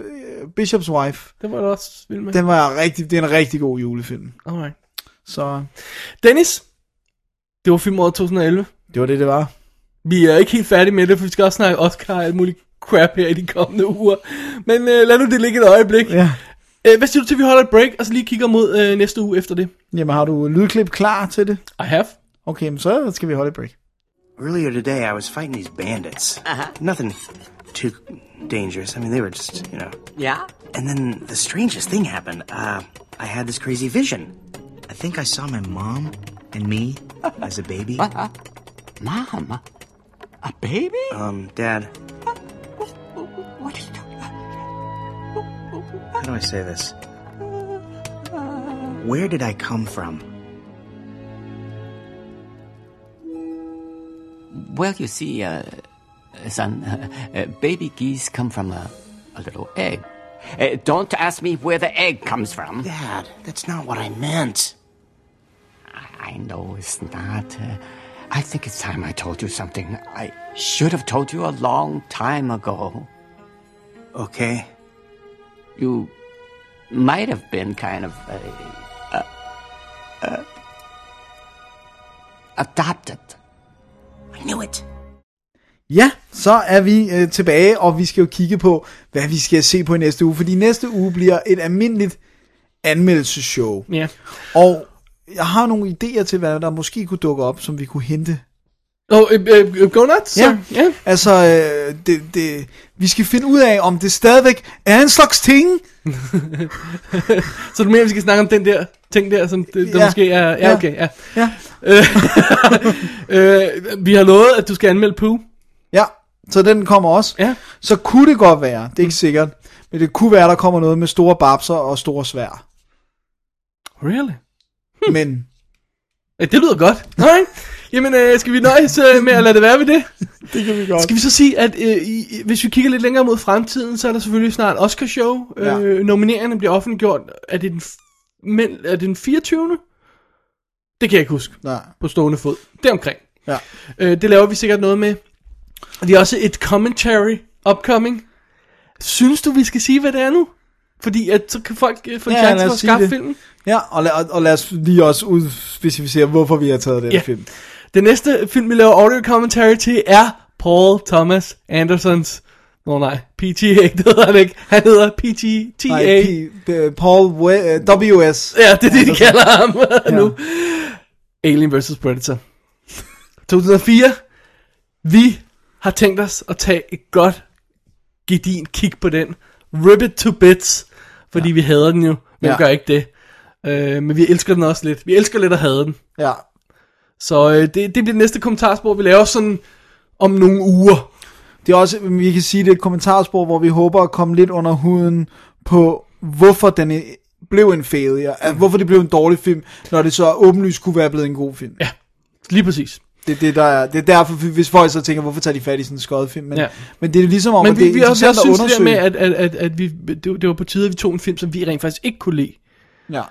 Bishop's Wife.
Det var du også vild med.
Den var rigtig, det er en rigtig god julefilm.
Alright.
Så
Dennis, Det var filmåret 2011.
Det var det, det var.
Vi er ikke helt færdige med det, for vi skal også snakke Oscar og alt muligt crap her i de kommende uger. Men øh, lad nu det ligge et øjeblik.
Ja.
Øh, hvad siger du til, at vi holder et break, og så lige kigger mod øh, næste uge efter det?
Jamen, har du lydklip klar til det?
I have.
Okay, men så skal vi holde et break.
Earlier today, I was fighting these bandits.
Uh-huh.
Nothing too dangerous. I mean, they were just, you know.
Yeah?
And then the strangest thing happened. Uh, I had this crazy vision. I think I saw my mom and me as a baby.
Mom? A baby?
Um, Dad,
What are you doing?
how do I say this? Where did I come from?
Well, you see, uh, son, uh, baby geese come from a, a little egg. Uh, don't ask me where the egg comes from.
Dad, that's not what I meant.
I know it's not. Uh, I think it's time I told you something I should have told you a long time ago.
Okay.
You might have been kind of uh, a, a, a adopted.
I knew it.
Ja, så er vi øh, tilbage, og vi skal jo kigge på, hvad vi skal se på i næste uge, fordi næste uge bliver et almindeligt anmeldelseshow.
Ja.
Og jeg har nogle idéer til, hvad der måske kunne dukke op, som vi kunne hente.
Og øh, øh, go nuts?
Ja,
så, ja.
altså, øh, det, det, vi skal finde ud af, om det stadigvæk er en slags ting.
Så du mener, vi skal snakke om den der ting der, som det, der
Ja.
måske er... Ja,
Ja.
okay, ja.
Ja.
Øh, øh, vi har lovet, at du skal anmelde Pooh.
Ja, så den kommer også.
Ja.
Så kunne det godt være, det er ikke sikkert, men det kunne være, der kommer noget med store babser og store svær.
Really?
Men
Ja, det lyder godt. Nej. Jamen, øh, skal vi nøjes øh, med at lade det være ved det?
det kan vi godt.
Skal vi så sige, at øh, i, i- hvis vi kigger lidt længere mod fremtiden, så er der selvfølgelig snart Oscar-show.
Ja.
Øh, nomineringerne bliver offentliggjort. Er det, den, f- men, er det den 24. Det kan jeg ikke huske.
Nej.
På stående fod. Det er omkring.
Ja.
Øh, det laver vi sikkert noget med. Og det er også et commentary upcoming. Synes du, vi skal sige, hvad det er nu? Fordi at, så kan folk øh, få en
Ja,
ja, chance
lad os
for at
sige
skaffe
det.
filmen.
Ja, og lad, og- og lad os lige også udspecificere, hvorfor vi har taget den
Ja.
yeah. film.
Den næste film, vi laver audio commentary til, er Paul Thomas Andersons... Nå nej, PTA, det hedder han ikke. Han hedder PTA.
Nej, P, øh, Paul We- øh, W.S.
Ja, det er det, de kalder ham nu.
Ja.
Alien vs. Predator. 2004. Vi har tænkt os at tage et godt, gedin kig på den. Rip it to bits. Fordi ja. vi hader den jo. Hvem
Ja.
ja. gør ikke det? Øh, men vi elsker den også lidt. Vi elsker lidt at have den.
ja.
Så øh, det, det bliver det næste kommentarspor, vi laver sådan om nogle uger.
Det er også, vi kan sige, det er et kommentarspor, hvor vi håber at komme lidt under huden på, hvorfor den øh, blev en failure. Altså, hvorfor det blev en dårlig film, når det så åbenlyst kunne være blevet en god film.
Ja, lige præcis.
Det er, det, der er, det er derfor, hvis folk så tænker, hvorfor tager de fat i sådan en skøjet film? Men,
Ja.
ja. men det er ligesom om,
Men
at det
vi,
er
vi har også
interessant at
synes det der
undersøge.
med, at, at, at, at vi, det, det var på tide, at vi tog en film, som vi rent faktisk ikke kunne lide.
Ja,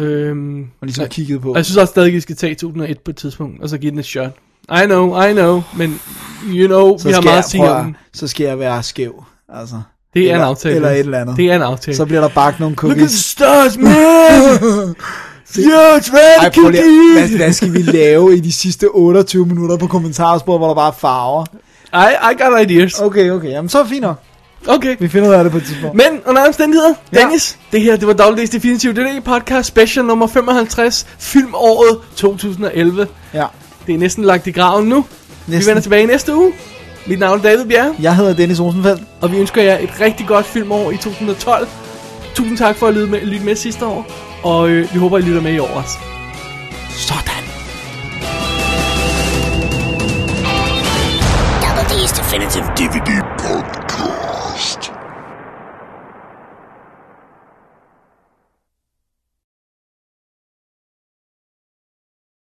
Øhm,
og ligesom
og-
kiggede på.
Og jeg synes også stadig, at vi skal tage 2001 på et tidspunkt, og så give den et shot. I know, I know, men you know,
så
vi har
skal
meget
jeg,
at sige
prøv at-
om den.
Så skal jeg være skæv. Altså.
Det er
eller,
en aftale.
Eller et eller andet.
Det er en aftale.
Så bliver der bagt nogle
Look at the
cookies.
stars, man! Huge
Ej,
red
prøv lige, at- hvad,
cookies!
hvad skal vi lave i de sidste 28 minutter på kommentarsporet, hvor der bare er farver?
I, I got ideas.
Okay, okay, jamen så er det fint nok.
Okay.
Vi finder ud af det på et tidspunkt.
Men under alle omstændigheder,
Ja.
Dennis, det her, det var Dagligdags Definitive DD podcast special nummer 55, filmåret 2011.
Ja,
Det er næsten lagt i graven nu. Næsten. Vi
Næsten.
vender tilbage næste uge. Mit navn er David Bjerre,
jeg hedder Dennis Rosenfeldt.
og vi ønsker jer et rigtig godt filmår i 2012. Tusind tak for at lytte med, lytte med sidste år, og øh, vi håber, I lytter med i år også.
Sådan.
Double D's Definitive DVD Podcast.